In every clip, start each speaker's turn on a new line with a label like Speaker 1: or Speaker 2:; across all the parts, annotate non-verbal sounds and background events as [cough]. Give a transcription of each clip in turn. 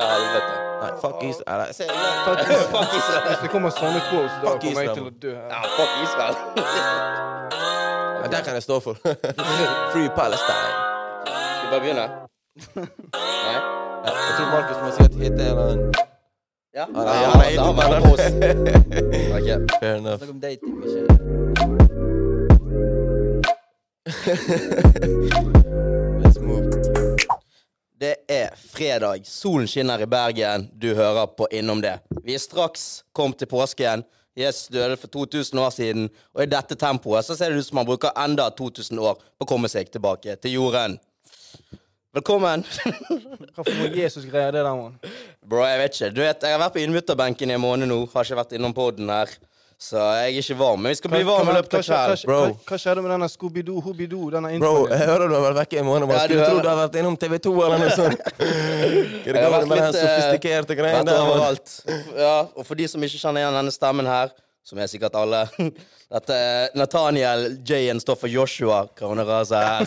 Speaker 1: Ja, helvete.
Speaker 2: Nei, fuck Israel. Nei, se-
Speaker 1: Fuck Israel. Fuck Israel.
Speaker 3: Hvis det kommer sånne quotes, da
Speaker 2: Fuck
Speaker 3: kommer jeg til
Speaker 2: Israel.
Speaker 3: å dø her.
Speaker 1: Ja, fuck Israel.
Speaker 2: Nei, den kan jeg stå for. [laughs] Free Palestine.
Speaker 1: Skal vi bare
Speaker 2: [laughs]
Speaker 1: begynne? Nei?
Speaker 2: Ja, Jeg tror Markus må si at hit er en eller annen
Speaker 1: Ja.
Speaker 2: Ja,
Speaker 1: Nei,
Speaker 2: ja,
Speaker 1: han
Speaker 2: ja,
Speaker 1: er- han er
Speaker 2: ja,
Speaker 1: mellom oss. Ok.
Speaker 2: Fair enough.
Speaker 4: Snakk om dating, ikke
Speaker 2: [laughs] Let's move.
Speaker 1: Det er fredag. Solen skinner i Bergen. Du hører på Innom det. Vi er straks kommet til påsken. Jesus døde for 2000 år siden, og i dette tempoet så ser det ut som han bruker enda 2000 år på å komme seg tilbake til jorden. Velkommen. [laughs]
Speaker 3: Hvorfor må Jesus greie det der, mann?
Speaker 1: Bro, jeg vet ikke. Du vet, Jeg har vært på innmutterbenken i en måned nå. Har ikke vært innom poden her. Så jeg er ikke varm. Men vi skal bli varme i løpet av kvelden.
Speaker 2: bro.
Speaker 3: Hva, hva skjedde med denne Scooby-Doo, Hooby-Doo, denne
Speaker 2: Bro,
Speaker 3: introen?
Speaker 2: jeg hører du har vært vekke i en måned. Man
Speaker 1: Ja, du
Speaker 2: skulle tro
Speaker 1: hører.
Speaker 2: du har vært innom TV2 eller noe
Speaker 1: [laughs]
Speaker 2: sånt. Hva er det
Speaker 1: Jeg har
Speaker 2: galt
Speaker 1: vært
Speaker 2: med den
Speaker 1: litt, eh,
Speaker 2: sofistikerte greia
Speaker 1: Vent
Speaker 2: der? man?
Speaker 1: overalt. Ja, og for de som ikke kjenner igjen denne stemmen her, som er sikkert alle [laughs] Dette er Nathaniel J-en står for Joshua Kroneraza
Speaker 2: [laughs]
Speaker 1: her.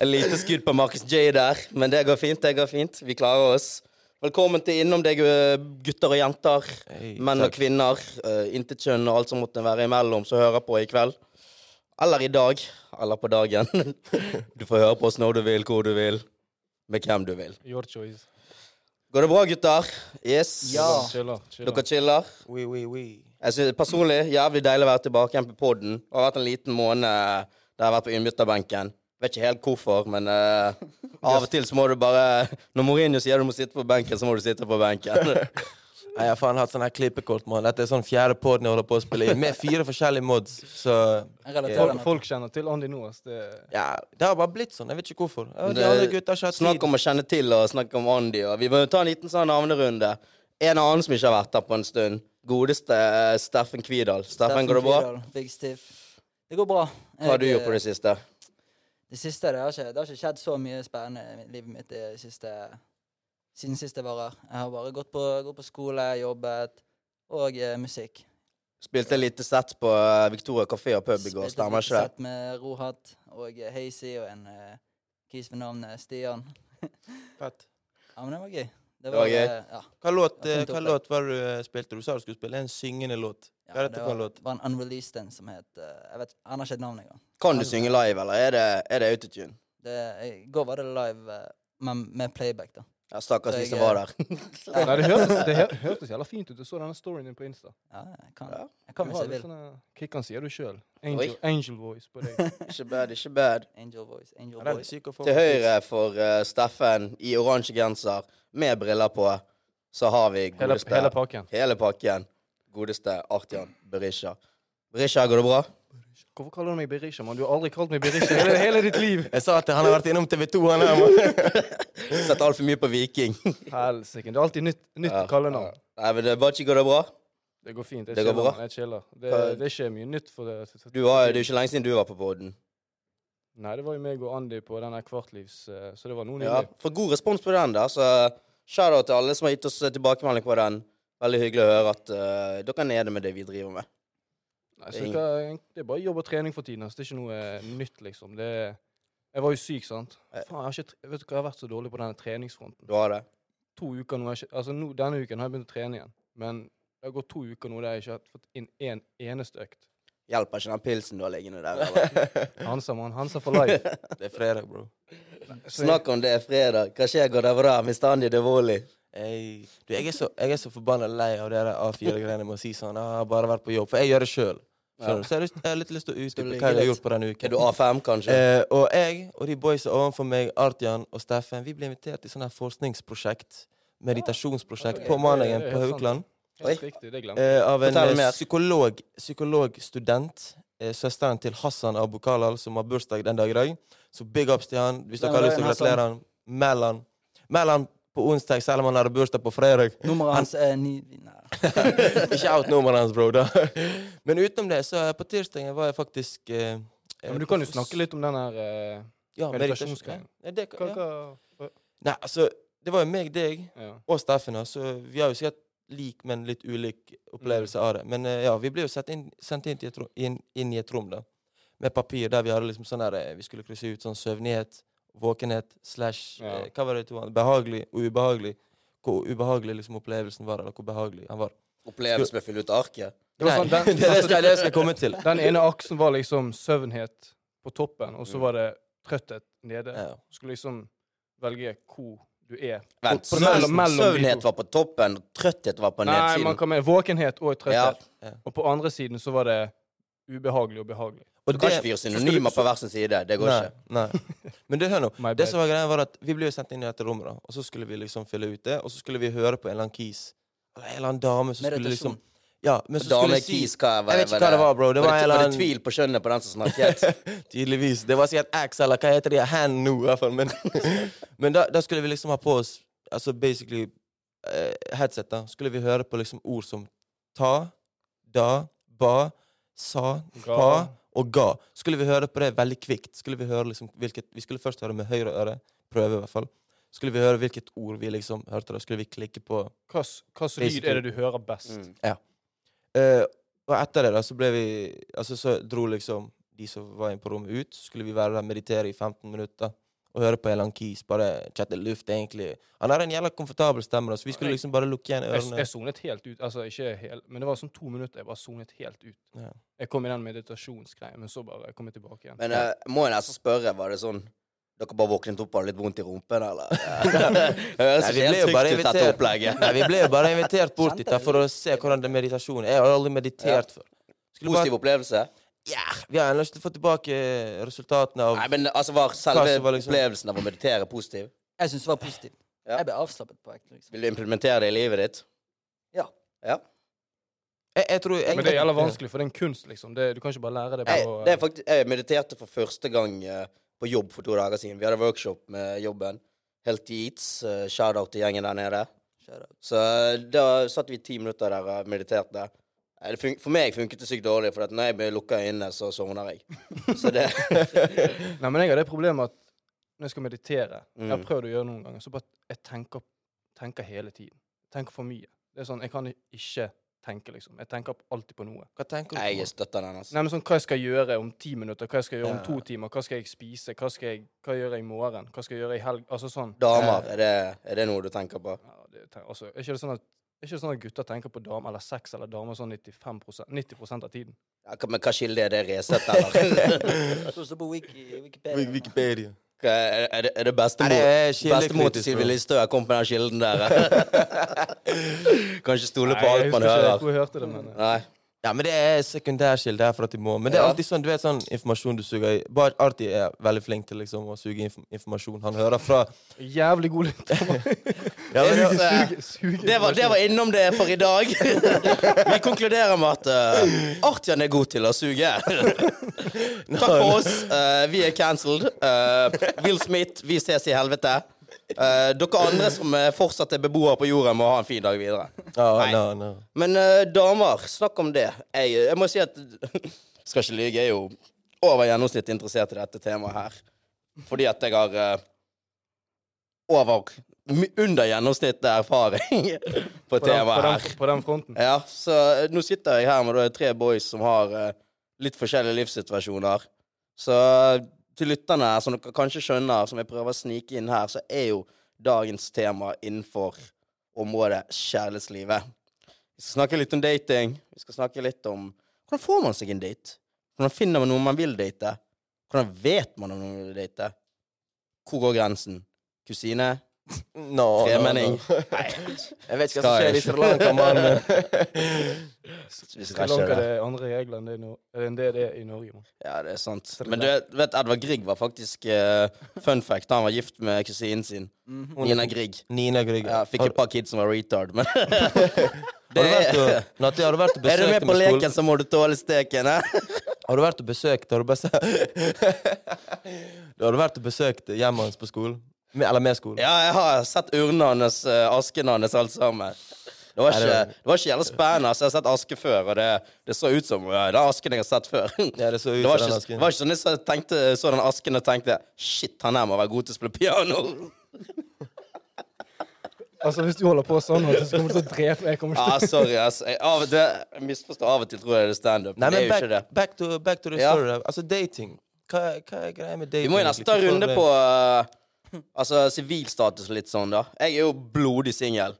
Speaker 1: Et lite skudd på Marcus J der, men det går fint, det går fint. Vi klarer oss. Velkommen til Innom deg, eh, gutter og jenter,
Speaker 2: Hei,
Speaker 1: menn og
Speaker 2: takk.
Speaker 1: kvinner, eh, intet kjønn og alt som måtte være imellom, som hører på i kveld. Eller i dag. Eller på dagen. [laughs] Du får høre på oss når du vil, hvor du vil, med hvem du vil.
Speaker 3: Your choice.
Speaker 1: Går det bra, gutter? Yes.
Speaker 4: Ja.
Speaker 3: Chiller, chiller.
Speaker 1: Dere chiller?
Speaker 2: Oui, oui, oui.
Speaker 1: Jeg synes, personlig jævlig deilig å være tilbake igjen på poden. Det har vært en liten måned eh, der jeg har vært på innbytterbenken. Vet ikke helt hvorfor, men eh, av og til så må du bare Når Mourinho sier du må sitte på benken, så må du sitte på benken.
Speaker 2: Nei, Jeg har faen hatt sånn her klippekort, mann. Dette er sånn fjerde podden jeg holder på å spille inn, med fire forskjellige mods. Så
Speaker 4: Jeg relaterer
Speaker 3: Folk,
Speaker 4: meg.
Speaker 3: folk kjenner til Andy nå, ass. Det...
Speaker 2: ja, det har bare blitt sånn. Jeg vet ikke hvorfor. Ja,
Speaker 1: Det-
Speaker 2: De andre gutta har ikke hatt
Speaker 1: eh, Snakk
Speaker 2: tid.
Speaker 1: om å kjenne til og snakk om Andy. Og vi må jo ta en liten sånn navnerunde. En annen som ikke har vært der på en stund. Godeste eh, Steffen Kvidal. Steffen, går det bra?
Speaker 4: Kvidal, Big Stiff. Det går bra. eh,
Speaker 1: Hva har du gjort på det siste?
Speaker 4: Det siste, det har, ikke, det har ikke skjedd så mye spennende i livet mitt det siste, siden sist jeg var her. Jeg har bare gått på, gått på skole, jobbet, og eh, musikk.
Speaker 1: Spilte et lite sett på eh, Victoria kafé og pub i går, stemmer ikke det?
Speaker 4: Sett med Rohat og eh, Hazy og en eh, kis ved navn eh, Stian.
Speaker 2: Fett.
Speaker 4: Ja, men det var gøy.
Speaker 1: Det var gøy.
Speaker 4: eh, Ja,
Speaker 2: Hva låt,
Speaker 4: Ja,
Speaker 2: eh,
Speaker 4: fint
Speaker 2: hva
Speaker 4: opplegg.
Speaker 2: låt var det du spilte? Du sa du skulle spille en syngende låt.
Speaker 4: ja,
Speaker 2: Hva er dette
Speaker 4: det
Speaker 2: for en
Speaker 4: var,
Speaker 2: låt?
Speaker 4: var en unreleased en som het eh, Jeg vet, Han har ikke et navn engang.
Speaker 1: Kan du synge live, eller er det, er det autotune?
Speaker 4: Det, I går var det live, eh, men med playback, da.
Speaker 1: Ja, Stakkars
Speaker 4: Det er
Speaker 1: de som
Speaker 4: gøy.
Speaker 1: var der.
Speaker 3: Nei, det hørtes, det hø- hørtes jævla fint ut. Du så denne storyen din på Insta.
Speaker 4: Ja, jeg kan,
Speaker 1: Ja,
Speaker 4: jeg kan
Speaker 3: Du
Speaker 4: hvis
Speaker 3: har
Speaker 4: jeg
Speaker 3: litt
Speaker 1: sånn-
Speaker 4: vil.
Speaker 3: sånne- Kikkan sier du sjøl.
Speaker 1: Oi.
Speaker 3: Angel, angel voice
Speaker 1: [laughs]
Speaker 3: på deg.
Speaker 1: [laughs] Ikke bad, ikke bad.
Speaker 4: Angel voice, angel
Speaker 2: Ja, den er
Speaker 4: voice.
Speaker 2: syk å
Speaker 1: [laughs]
Speaker 2: få
Speaker 1: Til
Speaker 2: på tids.
Speaker 1: høyre for eh, Steffen i oransje genser med briller på, så har vi
Speaker 3: Hele,
Speaker 1: godeste
Speaker 3: hele pakken.
Speaker 1: hele pakken. Godeste Artian Berisha. Berisha, går det bra? [laughs]
Speaker 3: Hvorfor kaller du meg Berisha, mann? Du har aldri kalt meg Berisha hele, hele ditt liv.
Speaker 2: Jeg sa at han har vært innom TV2, han her, mann.
Speaker 1: Sett altfor mye på Viking. [laughs]
Speaker 3: Helsike. Det er alltid nytt, nytt
Speaker 1: Ja,
Speaker 3: kallenavn.
Speaker 1: Nei, men det er bare ikke går det bra.
Speaker 3: Det går fint. Jeg
Speaker 1: Det går
Speaker 3: chiller,
Speaker 1: bra.
Speaker 3: mann, Jeg chiller. Det,
Speaker 1: Hva-
Speaker 3: det er ikke mye nytt for det.
Speaker 1: Du var, det er jo ikke lenge siden du var på poden.
Speaker 3: Nei, det var jo meg og Andy på denne kvartlivs, eh, så det var noe
Speaker 1: Ja,
Speaker 3: nylig.
Speaker 1: for god respons på den, da. Så shout-out til alle som har gitt oss eh, tilbakemelding på den. Veldig hyggelig å høre at eh, dere er nede med det vi driver med.
Speaker 3: Nei, så det, er, det er bare jobb og trening for tiden. Så det er ikke noe eh, nytt, liksom. Det, er- jeg var jo syk, sant.
Speaker 1: Eh.
Speaker 3: Faen, jeg har ikke, tre- vet du hva, jeg har vært så dårlig på denne treningsfronten.
Speaker 1: Du har det?
Speaker 3: To uker nå, har jeg ikke, altså nå, Denne uken har jeg begynt å trene igjen, men det har gått to uker nå der jeg ikke har fått inn én eneste økt.
Speaker 1: Hjelper ikke den pilsen du har liggende
Speaker 2: [laughs]
Speaker 1: der. eller?
Speaker 3: Hansa, mann. Hansa for life.
Speaker 2: Det er fredag, bro.
Speaker 1: Snakk om det er fredag. Hva skjer, går det bra? Mr. Andy Devoli.
Speaker 2: Ey, du, jeg er så, jeg er så forbanna lei av det der A4-greiene med å si sånn. Jeg har bare vært på jobb. For jeg gjør det sjøl.
Speaker 1: Ja.
Speaker 2: Så jeg har, lyst, jeg har litt lyst
Speaker 1: Skal
Speaker 2: til å
Speaker 1: du
Speaker 2: utdype
Speaker 1: ligge
Speaker 2: hva jeg har
Speaker 1: litt?
Speaker 2: gjort på denne
Speaker 1: Er
Speaker 2: uken.
Speaker 1: du A5, kanskje?
Speaker 2: Eh, og jeg og de boysa overfor meg, Artian og Steffen, vi ble invitert til sånn her forskningsprosjekt. Meditasjonsprosjekt
Speaker 3: Ja,
Speaker 2: på
Speaker 3: det-
Speaker 2: mandagen
Speaker 3: det er
Speaker 2: på
Speaker 3: helt sant.
Speaker 2: Haukeland.
Speaker 3: Helt riktig, det glemte jeg.
Speaker 2: Eh, av en
Speaker 1: Fortell
Speaker 2: eh,
Speaker 1: mer.
Speaker 2: psykolog, psykologstudent. Eh, søsteren til Hassan Abu Kalal, som har bursdag den dag i dag. Så big ups til han. Hvis
Speaker 4: Hvem
Speaker 2: dere har
Speaker 4: var
Speaker 2: lyst til å
Speaker 4: den, Hassan?
Speaker 2: gratulere han. Meld han. Meld han på onsdag, selv om han hadde bursdag på fredag.
Speaker 4: Nummeret hans er ni... Nei.
Speaker 2: [laughs] Ikke out nummeret hans, bro. Da. [laughs] Men utenom det, så eh, på tirsdagen var jeg faktisk eh,
Speaker 3: Ja, men du kan jo snakke litt om den her eh,
Speaker 2: ja,
Speaker 3: meditasjonsgreien.
Speaker 2: meditasjon. Ja, det, kan-
Speaker 3: hva,
Speaker 2: ja.
Speaker 3: hva,
Speaker 2: Nei, altså, det var jo meg, deg
Speaker 3: ja.
Speaker 2: og Steffen. da, Så vi har jo sikkert lik, men litt ulik opplevelse av det. Men eh, ja, vi ble jo sett inn, sendt inn, til et rom, inn, inn i et rom da, med papir der vi hadde liksom sånn der, eh, vi skulle krysse ut sånn søvnighet, våkenhet slash
Speaker 3: Ja.
Speaker 2: eh, Hva var det to andre? Behagelig og ubehagelig. Hvor ubehagelig liksom opplevelsen var, eller hvor behagelig han var.
Speaker 1: Opplevelsen med å fylle ut arket.
Speaker 3: Det var
Speaker 2: Nei,
Speaker 3: sånn,
Speaker 2: [laughs] det er
Speaker 3: den,
Speaker 2: det jeg skal, det jeg skal komme til.
Speaker 3: den ene aksen var liksom søvnhet på toppen, og så var det trøtthet nede.
Speaker 2: Ja.
Speaker 3: Du skulle liksom velge hvor du er.
Speaker 1: Vent,
Speaker 3: På- på mellom-
Speaker 1: søvn-
Speaker 3: mellom de
Speaker 1: søvnhet
Speaker 3: to.
Speaker 1: var på toppen, og trøtthet var på
Speaker 3: Nei, man
Speaker 1: nedsiden.
Speaker 3: kan med våkenhet og trøtthet.
Speaker 2: Ja. Ja.
Speaker 3: Og på andre siden så var det ubehagelig og behagelig.
Speaker 2: Og
Speaker 1: Du kan ikke fyre synonymer på hver sin side. Det går ikke.
Speaker 2: nei, Nei. [laughs] Men det hør nå.
Speaker 3: My
Speaker 2: Det
Speaker 3: bad.
Speaker 2: som var greia, var at vi ble jo sendt inn i dette rommet, da. Og så skulle vi liksom fylle ut det, og så skulle vi høre på en eller annen kis. Eller en eller annen dame som skulle liksom
Speaker 4: Meditasjon.
Speaker 2: Ja, men så
Speaker 1: Dame
Speaker 2: skulle si
Speaker 1: Keys, hva
Speaker 2: Jeg vet ikke hva det var, bro. Det var en eller
Speaker 1: Var det
Speaker 2: annen
Speaker 1: tvil på kjønnet på den som snakket?
Speaker 2: [laughs] Tydeligvis. Det var sikkert Axe, eller hva heter de? Hand nå, i hvert fall. Men, [laughs] men da, da skulle vi liksom ha på oss altså basically eh, headset. da. Skulle vi høre på liksom ord som ta, da, ba, sa,
Speaker 3: Ga.
Speaker 2: pa og ga. Skulle vi høre på det veldig kvikt. Skulle Vi høre liksom hvilket, vi skulle først høre med høyre øre. Prøve, i hvert fall. Skulle vi høre hvilket ord vi liksom hørte. da, Skulle vi klikke på
Speaker 3: Hva s- hva slags lyd er det du hører best?
Speaker 1: Mm.
Speaker 2: Eh, og etter det da, så ble vi Altså, så dro liksom de som var inne på rommet, ut. Så skulle vi være der, meditere i 15 minutter og høre på Elan Keys. Bare chatte luft, egentlig. Han har en jævla komfortabel stemme, da, så vi skulle liksom bare lukke igjen
Speaker 3: Jeg, s-
Speaker 2: ørene.
Speaker 3: jeg sonet helt ut. Altså, ikke helt, men det var sånn to minutter jeg bare sonet helt ut.
Speaker 2: Ja.
Speaker 3: Jeg kom i den meditasjonsgreien, men så bare kom jeg tilbake igjen.
Speaker 1: Men eh, må jeg nesten spørre, var det sånn dere bare våknet opp og hadde litt vondt i rumpen,
Speaker 2: [laughs]
Speaker 1: eller? [laughs] Høres
Speaker 2: Nei, vi
Speaker 1: ikke
Speaker 2: ble jo
Speaker 1: helt trygt
Speaker 2: bare
Speaker 1: ut, dette
Speaker 2: invitert.
Speaker 1: opplegget.
Speaker 2: Nei, vi ble jo bare invitert bort dit da,
Speaker 4: Kjente
Speaker 2: for å se hvordan det er meditasjon er. Jeg har aldri meditert før. Skulle bare,
Speaker 1: Positiv opplevelse?
Speaker 2: ja, vi har ennå ikke fått tilbake resultatene av
Speaker 1: Nei, men altså, var
Speaker 2: Hva
Speaker 1: selve
Speaker 2: som var liksom-
Speaker 1: opplevelsen av å meditere positiv?
Speaker 4: Jeg syns det var positivt.
Speaker 1: Ja.
Speaker 4: Jeg ble avslappet på ekte. liksom.
Speaker 1: Vil du implementere det i livet ditt?
Speaker 4: Ja.
Speaker 1: Ja.
Speaker 2: jeg, jeg tror, jeg,
Speaker 3: Men det er jævla vanskelig, for det er en kunst, liksom. Det, du kan ikke bare lære det
Speaker 1: Jeg,
Speaker 3: på
Speaker 1: det er faktisk, jeg mediterte for første gang eh, på jobb for to dager siden. Vi hadde workshop med jobben. Healthy Eats. eh, Shout-out til gjengen der nede.
Speaker 4: Shout out.
Speaker 1: Så eh, da satt vi ti minutter der og mediterte. Eh, Det fun for meg funket det sykt dårlig, for at når jeg lukker øynene, så sovner
Speaker 2: [laughs]
Speaker 1: jeg. Så det
Speaker 3: Nei, men jeg har det problemet at når jeg skal meditere Jeg har
Speaker 1: Mm.
Speaker 3: prøvd å gjøre det noen ganger, så bare jeg tenker, tenker hele tiden. Tenker for mye. Det er sånn, Jeg kan ikke tenke, liksom. Jeg tenker alltid på noe.
Speaker 2: Hva tenker
Speaker 1: Nei,
Speaker 2: du
Speaker 1: jeg
Speaker 2: på?
Speaker 1: støtter den, altså.
Speaker 3: Nei, men sånn, Hva jeg skal gjøre om ti minutter, hva jeg skal gjøre om
Speaker 2: Ja.
Speaker 3: to timer, hva skal jeg spise, hva skal jeg hva gjør jeg i morgen, hva skal jeg gjøre i helg Altså sånn.
Speaker 1: Damer, er det, er det noe du tenker på?
Speaker 3: Ja, det, ten- altså, er ikke det sånn at er ikke det sånn at gutter tenker på damer eller sex eller damer sånn 95 90 av tiden?
Speaker 1: Ja, hva- men hva skilde er det Resett, eller?
Speaker 2: [laughs]
Speaker 4: Jeg tror det står på Wiki, Wikipedia.
Speaker 2: Wik- Wikipedia.
Speaker 1: Hva- er, er det, er det
Speaker 2: Nei, det
Speaker 1: bestemor?
Speaker 2: er
Speaker 1: Bestemor til
Speaker 2: kildekritisk,
Speaker 1: Sylvi
Speaker 2: bro.
Speaker 1: Listhaug kom på den kilden der. [laughs] kan ikke stole på
Speaker 3: jeg
Speaker 1: alt man
Speaker 3: husker ikke
Speaker 1: hører.
Speaker 3: hvor jeg hørte det, men
Speaker 1: Nei.
Speaker 2: Ja, men det er sekundærskild herfra til må. Men det er
Speaker 1: Ja.
Speaker 2: alltid sånn, du vet sånn informasjon du suger i. Bare Arti er veldig flink til liksom å suge inf informasjon. Han hører fra
Speaker 3: eh, Jævlig god
Speaker 1: [laughs]
Speaker 3: lyd.
Speaker 2: ja, men,
Speaker 1: Jeg
Speaker 2: ja,
Speaker 1: synes- eh,
Speaker 3: Suge- suge
Speaker 1: Det var, det var innom det for i dag. [laughs] Vi konkluderer med at eh, Artian er god til å
Speaker 2: [laughs]
Speaker 1: suge. Takk for oss. Eh, vi er cancelled. Eh, Will Smith, vi ses i helvete. Eh, dere andre som eh, fortsatt er beboere på jorda, må ha en fin dag videre. [laughs] Nei.
Speaker 2: no, no.
Speaker 1: Men eh, damer, snakk om det. Jeg, eh, jeg må si at [laughs] Skal ikke lyge, jeg er jo over gjennomsnittet interessert i dette temaet her. Fordi at jeg har eh, over my- under gjennomsnittet erfaring [laughs] på
Speaker 3: på den, på,
Speaker 1: temaet
Speaker 3: den,
Speaker 1: her.
Speaker 3: på den fronten.
Speaker 1: Ja, så eh, nå sitter jeg her med da tre boys som har eh, litt forskjellige livssituasjoner. Så eh, til lytterne, her, som dere kanskje skjønner, som jeg prøver å snike inn her, så er jo dagens tema innenfor området kjærlighetslivet. Vi skal snakke litt om dating. Vi skal snakke litt om hvordan får man seg en date? Hvordan finner man noen man vil date? Hvordan vet man om noen man vil date? Hvor går grensen? Kusine?
Speaker 2: No,
Speaker 1: Tremenning?
Speaker 3: [laughs]
Speaker 2: No, no. Jeg vet ikke hva
Speaker 1: Skal
Speaker 2: som
Speaker 1: jeg
Speaker 2: skjer i
Speaker 1: ikke. [laughs]
Speaker 2: Sri Lanka, eh, mann.
Speaker 1: Vi
Speaker 3: Sri Lanka det er andre regler enn det, er i Nor- enn det det er i Norge. Man.
Speaker 1: Ja, det er sant. Men du vet, Edvard Grieg var faktisk eh, Fun fact, han var gift med kusinen sin.
Speaker 4: Mhm.
Speaker 1: Nina Grieg.
Speaker 2: Nina Grieg.
Speaker 1: Ja, fikk
Speaker 2: har,
Speaker 1: et par kids som var retard,
Speaker 2: [laughs]
Speaker 1: men
Speaker 2: har du
Speaker 1: [laughs]
Speaker 2: vært
Speaker 1: er-
Speaker 2: og, Natti, har du vært
Speaker 1: Er du
Speaker 2: og besøkt
Speaker 1: med på
Speaker 2: dem i skolen?
Speaker 1: leken, så må du tåle steken, hæ? [laughs]
Speaker 2: Har du vært og besøkt Har du, bes har du vært og besøkt hjemmet hans på skolen? Med, eller med skolen?
Speaker 1: Ja, jeg har sett urnen hans, eh, asken hans, alt sammen. Det var
Speaker 2: Nei,
Speaker 1: ikke,
Speaker 2: det var-
Speaker 1: det var ikke jævla spennende. Altså, jeg har sett aske før, og det, det så ut som ja, den asken jeg har sett før. [laughs]
Speaker 2: Ja, det så ut
Speaker 1: Det var
Speaker 2: som den
Speaker 1: ikke,
Speaker 2: asken.
Speaker 1: det var ikke sånn jeg så, tenkte, så den asken og tenkte Shit, han her må være god til å spille
Speaker 2: [laughs]
Speaker 1: piano.
Speaker 3: Altså, Hvis du holder på sånn, vet du, så kommer du til å drepe meg. Jeg kommer til
Speaker 1: Ja, Ah, sorry, ass. Jeg, av, og til- jeg misforstår av og til, tror jeg det er standup. men
Speaker 2: Nei,
Speaker 1: det
Speaker 2: men
Speaker 1: er jo ikke det.
Speaker 2: back, back, to, back to the
Speaker 1: Ja.
Speaker 2: story. da. Altså, dating. Hva, hva er greia med
Speaker 1: Vi
Speaker 2: dating?
Speaker 1: må jo
Speaker 2: egentlig?
Speaker 1: nesten ta en
Speaker 2: Hvorfor
Speaker 1: runde
Speaker 2: det-
Speaker 1: på eh, Altså sivilstatus og litt sånn, da. Jeg er jo blodig singel.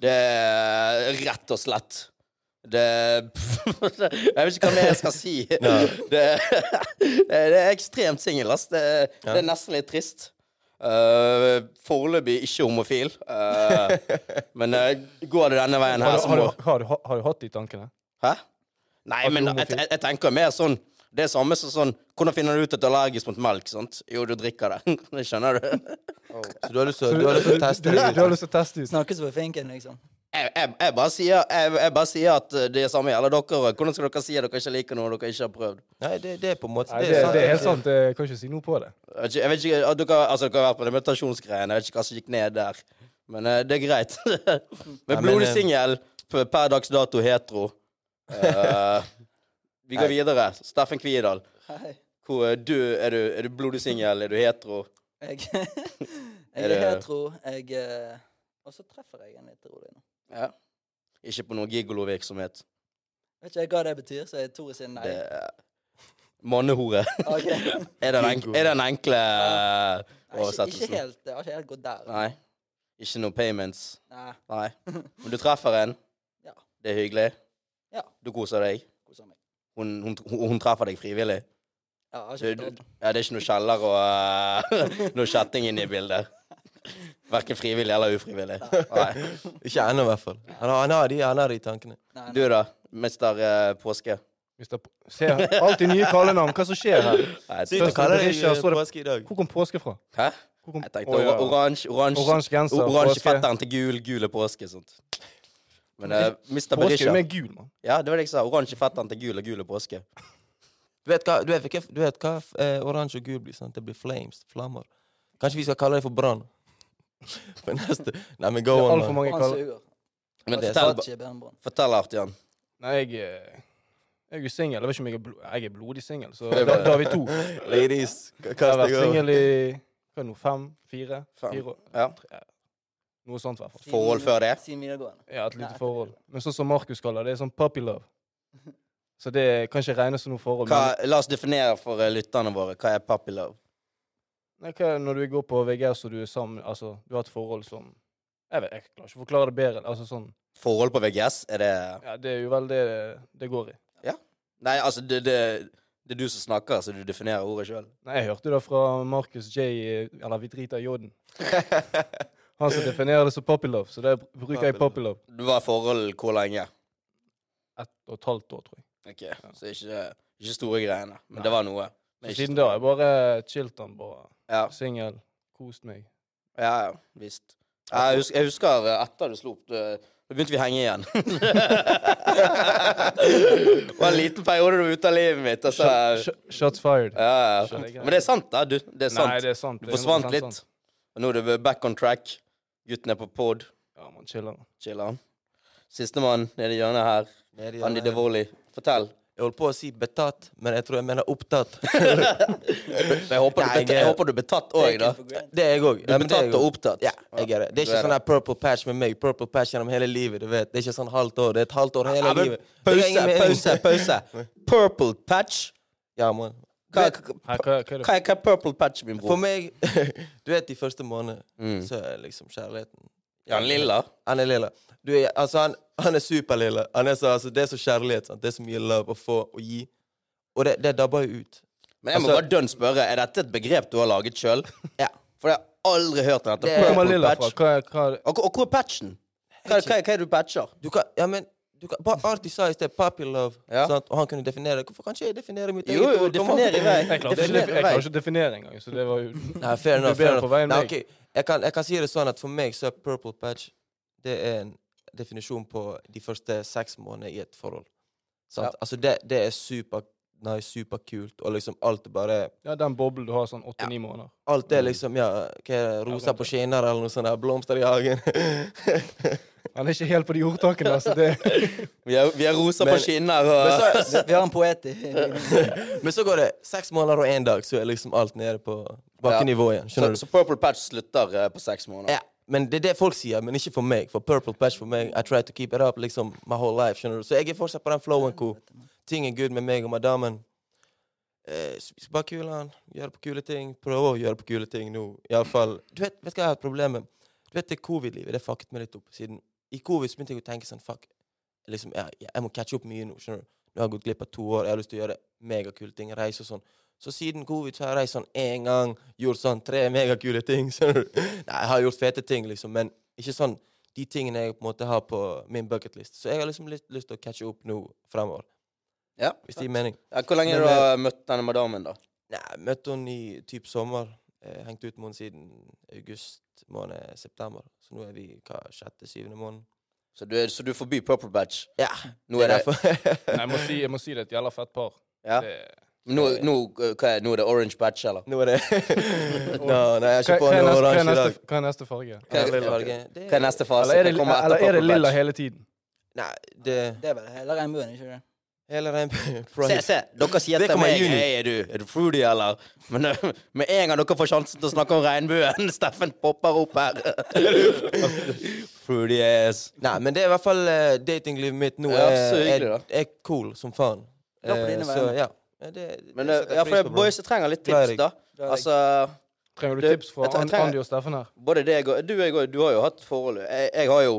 Speaker 1: Det er rett og slett. Det [laughs] Jeg vet ikke hva mer jeg skal
Speaker 3: [laughs]
Speaker 1: si. Det, [laughs] det er ekstremt singel, ass. Det, det er nesten litt trist. Eh, Foreløpig ikke homofil.
Speaker 3: [laughs]
Speaker 1: eh, men eh, går det denne veien her,
Speaker 3: Har,
Speaker 1: så
Speaker 3: du-
Speaker 1: altså, må
Speaker 3: har, du- har, du- har du hatt de tankene?
Speaker 1: Hæ? Nei,
Speaker 3: At
Speaker 1: men
Speaker 3: du er
Speaker 1: jeg,
Speaker 3: homofil.
Speaker 1: jeg, jeg tenker mer sånn Det er samme som sånn Hvordan finner du ut at du er allergisk mot melk? sant? Jo, du drikker det. [laughs] Det skjønner du.
Speaker 2: Så du har lyst til du har lyst til å teste
Speaker 3: Du, du, du
Speaker 2: det?
Speaker 3: har lyst til å teste ut.
Speaker 4: Snakkes på finken, liksom.
Speaker 1: Jeg, jeg, jeg, bare, sier, jeg, jeg bare sier at eh, det er samme gjelder dere. Hvordan skal dere si at dere ikke liker noe dere ikke har prøvd?
Speaker 2: Nei, det, det er på en måte
Speaker 3: Nei, det,
Speaker 2: sant.
Speaker 3: det er helt sant. Jeg kan ikke si noe på det.
Speaker 1: Jeg vet ikke- jeg vet ikke, at dere, altså, dere har vært på den meditasjonsgreiene. Jeg vet ikke hva som gikk ned der. Men eh, det er greit. [laughs]
Speaker 2: Nei,
Speaker 1: men
Speaker 2: men,
Speaker 1: blodig
Speaker 2: eh,
Speaker 1: singel p- per dags dato hetero. Eh, vi går videre. Steffen Kvidal.
Speaker 4: Hei.
Speaker 1: Hvor er du? Er du, er du blodig singel? Er du hetero?
Speaker 4: Jeg, [laughs]
Speaker 1: Er
Speaker 4: jeg
Speaker 1: det-
Speaker 4: er hetero. Jeg eh, Og så treffer jeg en litt rolig nå.
Speaker 1: Ja. Ikke på noe gigolo-virksomhet.
Speaker 4: Vet ikke jeg hva det betyr, så er Tore sin nei.
Speaker 1: Det er Mannehore.
Speaker 4: [laughs] Ok. Nei,
Speaker 1: Er den, enk er den enkle eh, [laughs]
Speaker 4: ikke, ikke
Speaker 1: oversettelsen?
Speaker 4: helt, jeg har ikke helt gått der.
Speaker 1: Nei. Ikke noe payments.
Speaker 4: Nei. [laughs]
Speaker 1: Nei. Men du treffer en.
Speaker 4: Ja.
Speaker 1: Det er hyggelig.
Speaker 4: Ja.
Speaker 1: Du koser deg.
Speaker 4: Koser meg.
Speaker 1: Hun, hun, hun, hun treffer deg frivillig.
Speaker 4: Ja, jeg har
Speaker 1: Du,
Speaker 4: ikke
Speaker 1: du,
Speaker 4: betalt.
Speaker 1: ja, det er ikke noe kjeller og eh, [laughs] noe chatting inne i bildet. Verken frivillig eller ufrivillig. Nei.
Speaker 2: Ikke ennå, i hvert fall. Han har, han har de, han har de tankene.
Speaker 4: Nei,
Speaker 1: Du da, mister eh, påske?
Speaker 3: Hvis det, se, alltid nye kallenavn. Hva som skjer her?
Speaker 1: Nei,
Speaker 2: Sitter og
Speaker 3: Først
Speaker 2: kaller
Speaker 3: på
Speaker 2: deg
Speaker 3: Risha,
Speaker 2: eh,
Speaker 3: så det-
Speaker 2: påske i dag.
Speaker 3: Hvor kom påske fra?
Speaker 1: Hæ?
Speaker 3: Hvor kom,
Speaker 1: Jeg tenkte
Speaker 3: Å, ja.
Speaker 1: ora- oransje Oransje
Speaker 3: Oransje genser,
Speaker 1: oransje
Speaker 3: påske.
Speaker 1: fetteren til gul, gul er påske. Sånt. Men uh, Mr.
Speaker 3: Påske
Speaker 1: Berisha
Speaker 3: med gul, mann.
Speaker 1: Ja, det var det jeg sa. Oransje fetteren til gul er gul er påske.
Speaker 2: Du vet hva, du vet, hvilke- du vet hva eh, oransje og gul blir? sant? Det blir flames. Flammer. Kanskje vi skal kalle det for brann? [laughs] For neste Nei, men go
Speaker 3: Det er
Speaker 2: on.
Speaker 3: alt for
Speaker 2: man.
Speaker 3: mange
Speaker 4: Han
Speaker 3: kallenavn.
Speaker 4: suger.
Speaker 1: Men
Speaker 4: Han
Speaker 1: fortell,
Speaker 4: satt ikke i Bjørnbronn.
Speaker 1: fortell Artian.
Speaker 3: Nei, jeg, eh, jeg er singel. Jeg vet ikke om jeg er, blo jeg er blodig singel, så da, da er vi to. Jeg
Speaker 2: Ladies, k-
Speaker 3: har
Speaker 2: kast
Speaker 3: vært
Speaker 2: deg over.
Speaker 3: singel i hva er det nå, fem, fire,
Speaker 1: Fem.
Speaker 3: fire år.
Speaker 1: Ja.
Speaker 3: tre- Noe sånt, i hvert fall.
Speaker 1: Forhold før det?
Speaker 4: Siden videregående.
Speaker 3: Ja, et lite
Speaker 4: Nei,
Speaker 3: forhold. Men sånn som Markus kaller det, det er sånn puppy love. Så det kan ikke regnes som noe forhold.
Speaker 1: Hva,
Speaker 3: men-
Speaker 1: la oss definere for eh, lytterne våre hva er puppy love.
Speaker 3: Nei, hva, når du går på VGS og du er sammen Altså, du har et forhold som Jeg vet, jeg klarer ikke å forklare det bedre. Altså sånn
Speaker 1: Forhold på VGS, er det
Speaker 3: Ja, det er jo vel det det går i.
Speaker 1: Nei, altså, det, det, det er du som snakker, så du definerer ordet sjøl.
Speaker 3: Nei, jeg hørte det fra Markus J, eller vi driter i Joden. Han som definerer det som puppy love, så det bruker jeg
Speaker 2: Puppy love.
Speaker 3: puppy love.
Speaker 1: Du var i forhold hvor lenge?
Speaker 3: ett og et halvt år, tror jeg.
Speaker 1: Ok, Så ikke, ikke store greiene. Men det var noe. Men
Speaker 3: Så
Speaker 1: ikke
Speaker 3: siden da
Speaker 1: store.
Speaker 3: har jeg bare chillt han, bare
Speaker 1: Ja.
Speaker 3: singel, kost meg.
Speaker 1: Ja, ja, visst. Jeg husker, jeg husker eh, etter du slo opp, det- da begynte vi å henge
Speaker 3: [laughs]
Speaker 1: igjen. det var en liten periode du var ute av livet mitt. Altså,
Speaker 3: Sh- sh- Shots fired.
Speaker 1: ja, ja.
Speaker 3: Skjønner jeg.
Speaker 1: Men det er sant, da. Du, det Eh, er
Speaker 3: Nei,
Speaker 1: sant.
Speaker 3: det er sant.
Speaker 1: Du
Speaker 3: det er
Speaker 1: forsvant
Speaker 3: 100%
Speaker 1: litt.
Speaker 3: sant.
Speaker 1: Og nå er du back on track. Gutten er på pod.
Speaker 3: Ja, man chiller.
Speaker 1: Chiller'n. Sistemann nede i hjørnet her.
Speaker 2: Nede i
Speaker 1: Andy
Speaker 2: hjørnet.
Speaker 1: Devoli. Fortell.
Speaker 2: Jeg holdt på å si betatt, men jeg tror jeg mener
Speaker 1: [laughs]
Speaker 2: opptatt.
Speaker 1: Jeg håper, du
Speaker 2: Nei, jeg-
Speaker 1: betatt, jeg håper du er betatt òg, da.
Speaker 4: Taken for granted.
Speaker 2: Det er jeg òg.
Speaker 1: Du er betatt og opptatt.
Speaker 2: Ja, jeg er det. Det er
Speaker 1: Du er
Speaker 2: ikke sånn
Speaker 1: det.
Speaker 2: her purple patch med meg. Purple patch gjennom hele livet. du vet. Det er ikke sånn halvt år. Det er et halvt år hele
Speaker 1: Ja, men
Speaker 2: livet. Det gir
Speaker 1: Pause,
Speaker 2: ingen mening.
Speaker 1: pause, pause. Purple patch.
Speaker 2: [laughs] Ja, man.
Speaker 1: Hva,
Speaker 3: Her,
Speaker 1: hva,
Speaker 3: hva, hva er det?
Speaker 1: hva er purple patch, min
Speaker 2: For
Speaker 1: bror?
Speaker 2: meg [laughs] Du vet, de første månedene
Speaker 1: Mm.
Speaker 2: så er liksom kjærligheten
Speaker 1: Ja, han lilla.
Speaker 2: Han er lilla. Du er, altså, han, han er superlilla. Han er så, altså, det er så kjærlighet. Sant? Det er så mye love å få og gi. Og det, det dabber jo ut.
Speaker 1: Men jeg må
Speaker 2: Altså-
Speaker 1: bare dønn spørre, er dette et begrep du har laget sjøl?
Speaker 2: [laughs] Ja.
Speaker 1: For jeg har aldri hørt om dette.
Speaker 2: Det-
Speaker 3: Hvor
Speaker 1: Purple
Speaker 3: kommer Lilla fra?
Speaker 1: patch.
Speaker 3: Hva, er- hva, er det?
Speaker 1: Og, og hvor er patchen? Hva, hva, hva er det du patcher?
Speaker 2: Du kan, ja, men du kan, bare Artie sa i sted 'puppy love',
Speaker 1: Ja.
Speaker 2: sant? og han kunne definere det. Hvorfor kan ikke jeg definere mitt
Speaker 1: Jo, jo,
Speaker 2: ord? Kom an.
Speaker 1: definer i vei.
Speaker 3: jeg klarer ikke,
Speaker 1: Definer
Speaker 3: jeg
Speaker 1: i vei.
Speaker 3: klarer ikke å definere engang, så det var jo
Speaker 2: Nei, fair
Speaker 3: Du er
Speaker 2: enough.
Speaker 3: bedre
Speaker 2: Fair
Speaker 3: på vei
Speaker 2: enough.
Speaker 3: enn
Speaker 2: Nei,
Speaker 3: meg.
Speaker 2: ok. jeg, kan, jeg kan si det sånn at for meg så er purple patch Det er en definisjon på de første seks månedene i et forhold. Sant?
Speaker 1: Ja.
Speaker 2: Altså, det, det er super nice, superkult, og liksom alt er bare
Speaker 3: Ja, den boblen du har sånn åtte-ni måneder.
Speaker 2: Alt er liksom ja, hva er det, rosa
Speaker 3: rundt
Speaker 2: på skinner eller noe sånt, der, blomster i hagen. [laughs]
Speaker 3: Han er ikke helt på de ordtakene, altså.
Speaker 1: [laughs]
Speaker 3: Det
Speaker 1: Vi har, vi har rosa
Speaker 2: Men-
Speaker 1: på eh, skinner
Speaker 2: Men
Speaker 1: og
Speaker 3: [laughs]
Speaker 2: så,
Speaker 4: Vi har en poet i
Speaker 2: men så går det seks måneder og én dag, så er liksom alt nede på bakkenivå igjen.
Speaker 1: så,
Speaker 2: Skjønner du?
Speaker 1: så purple patch slutter eh, på seks måneder.
Speaker 2: Ja, men Det er det folk sier, men ikke for meg. For Purple Patch for meg, I try to keep it up liksom my whole life. skjønner du? Så jeg er fortsatt på den flowen hvor ting er good med meg og madamen. eh, spis bare kulen, gjør på kule ting, prøv å gjøre på kule ting nå. I alle fall, du vet, vet hva jeg har et problem med? Du vet det covid-livet, det fucket meg litt opp. Siden i covid så begynte jeg å tenke sånn, fuck, liksom, jeg, jeg- jeg må catche opp mye nå, skjønner du? Nå har jeg gått glipp av to år, jeg har lyst til å gjøre megakule ting, reise og sånn. Så siden covid så har jeg reist sånn én gang, gjort sånn tre megakule ting, skjønner du? Nei, jeg har gjort fete ting, liksom, men ikke sånn de tingene jeg på en måte har på min bucketlist. Så jeg har liksom litt lyst til å catche opp nå fremover,
Speaker 1: Ja.
Speaker 2: hvis det gir mening.
Speaker 1: Ja, Hvor lenge har
Speaker 2: Men,
Speaker 1: du har møtt denne madammen, da?
Speaker 2: Nei, jeg møtte hun i typ sommer. Eh, hengt ut med henne siden august måned, september. Så nå er vi hva, sjette, syvende måned.
Speaker 1: Så du, er, så du får by Purple Batch.
Speaker 2: Ja,
Speaker 1: Nå er det
Speaker 2: derfor. [laughs]
Speaker 3: Nei, jeg må si, jeg må si det er et jævla fett par.
Speaker 1: ja.
Speaker 3: Det,
Speaker 1: nå, nå, eh, hva er, det? nå er det Orange Batch, eller?
Speaker 2: nå er det [laughs] Nå, nei,
Speaker 3: hva,
Speaker 2: jeg har ikke på
Speaker 3: hva, er neste, hva,
Speaker 2: noe
Speaker 3: er
Speaker 2: oransje i
Speaker 3: neste,
Speaker 2: dag.
Speaker 3: hva er neste farge?
Speaker 1: Hva er-
Speaker 2: Lilla farge. Det-
Speaker 1: Hva er neste fase?
Speaker 3: Eller er det,
Speaker 1: Hva Altså, kommer etter
Speaker 3: eller er det
Speaker 1: Purple
Speaker 3: lilla
Speaker 1: Batch?
Speaker 3: hele tiden?
Speaker 2: Nei, det
Speaker 4: Det er vel hele regnbuen, ikke det?
Speaker 2: Hele regnbuen
Speaker 1: Se, se, dere sier
Speaker 2: Det
Speaker 1: til
Speaker 2: kommer i
Speaker 1: meg
Speaker 2: juni.
Speaker 1: Hei, er du, er du fruity, eller? Men eh, med en gang dere får sjansen til å snakke om regnbuen, [laughs] Steffen popper opp her. [laughs] fruity ass.
Speaker 2: Nei, men det er i hvert fall eh, datinglivet mitt nå.
Speaker 1: Ja,
Speaker 2: er,
Speaker 1: så hyggelig,
Speaker 2: er, er cool som faen.
Speaker 4: Ja, på dine
Speaker 2: Eh, så
Speaker 4: vegne.
Speaker 2: ja. Ja, Det, det
Speaker 1: Men
Speaker 2: setter
Speaker 1: eh, ja,
Speaker 2: jeg
Speaker 1: for det
Speaker 2: pris
Speaker 1: er
Speaker 2: på, bro.
Speaker 1: boys som trenger litt
Speaker 2: Det er
Speaker 1: tips,
Speaker 2: jeg.
Speaker 1: da.
Speaker 4: er jeg.
Speaker 1: Altså,
Speaker 3: Trenger du
Speaker 1: Det-
Speaker 3: tips fra
Speaker 1: jeg tre- jeg
Speaker 3: An-
Speaker 1: trenger-
Speaker 3: Andy og Steffen her?
Speaker 1: både deg og Du, og jeg, og- du har jo hatt forhold. Jeg, jeg har jo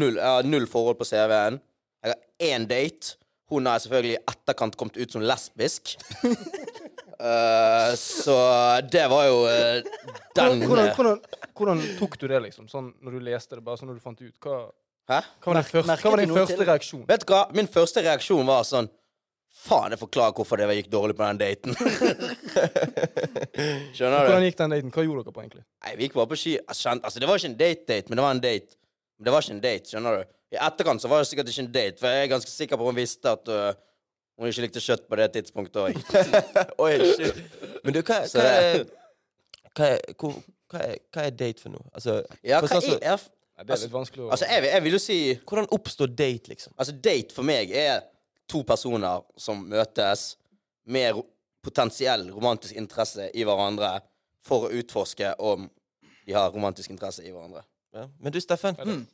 Speaker 1: null, jeg har null forhold på CV-en. Jeg har én date. Hun har selvfølgelig i etterkant kommet ut som
Speaker 2: [laughs]
Speaker 1: lesbisk. Eh, så det var jo eh, den
Speaker 3: Hvordan, hvordan, hvordan, hvordan tok du det, liksom? Sånn når du leste det, bare sånn når du fant det ut? Hva,
Speaker 1: Hæ?
Speaker 3: hva var din første,
Speaker 4: merket
Speaker 3: hva var
Speaker 4: du
Speaker 3: din
Speaker 4: noe
Speaker 3: første
Speaker 4: til?
Speaker 3: reaksjon?
Speaker 1: Vet du hva? Min første reaksjon var sånn Faen, jeg forklarer hvorfor det gikk dårlig på den daten. [laughs] Skjønner du?
Speaker 3: Hvordan gikk den daten? Hva gjorde dere på, egentlig?
Speaker 1: Nei, vi gikk bare på ski. Altså, skjønt- altså, det var ikke en date-date, men det var en date. Men det var ikke en date, skjønner du? I etterkant så var det sikkert ikke en date, for jeg er ganske sikker på at hun visste at øh, hun ikke likte kjøtt på det tidspunktet òg.
Speaker 2: [laughs] Oi, shit. Men du, hva,
Speaker 1: Så
Speaker 2: hva, er,
Speaker 1: det-
Speaker 2: hva, er, hvor- hva, er, hva er date for noe? Altså,
Speaker 1: Ja,
Speaker 2: for
Speaker 1: hva
Speaker 2: sånn som-
Speaker 1: er jeg,
Speaker 3: Nei, det er litt vanskelig å
Speaker 1: Altså, jeg, vil- jeg vil jo si
Speaker 2: hvordan oppstår date, liksom?
Speaker 1: Altså, date for meg er to personer som møtes med ro potensiell romantisk interesse i hverandre for å utforske om de har romantisk interesse i hverandre.
Speaker 2: Ja. Men du, Steffen.
Speaker 3: Ja, det-
Speaker 2: Mm.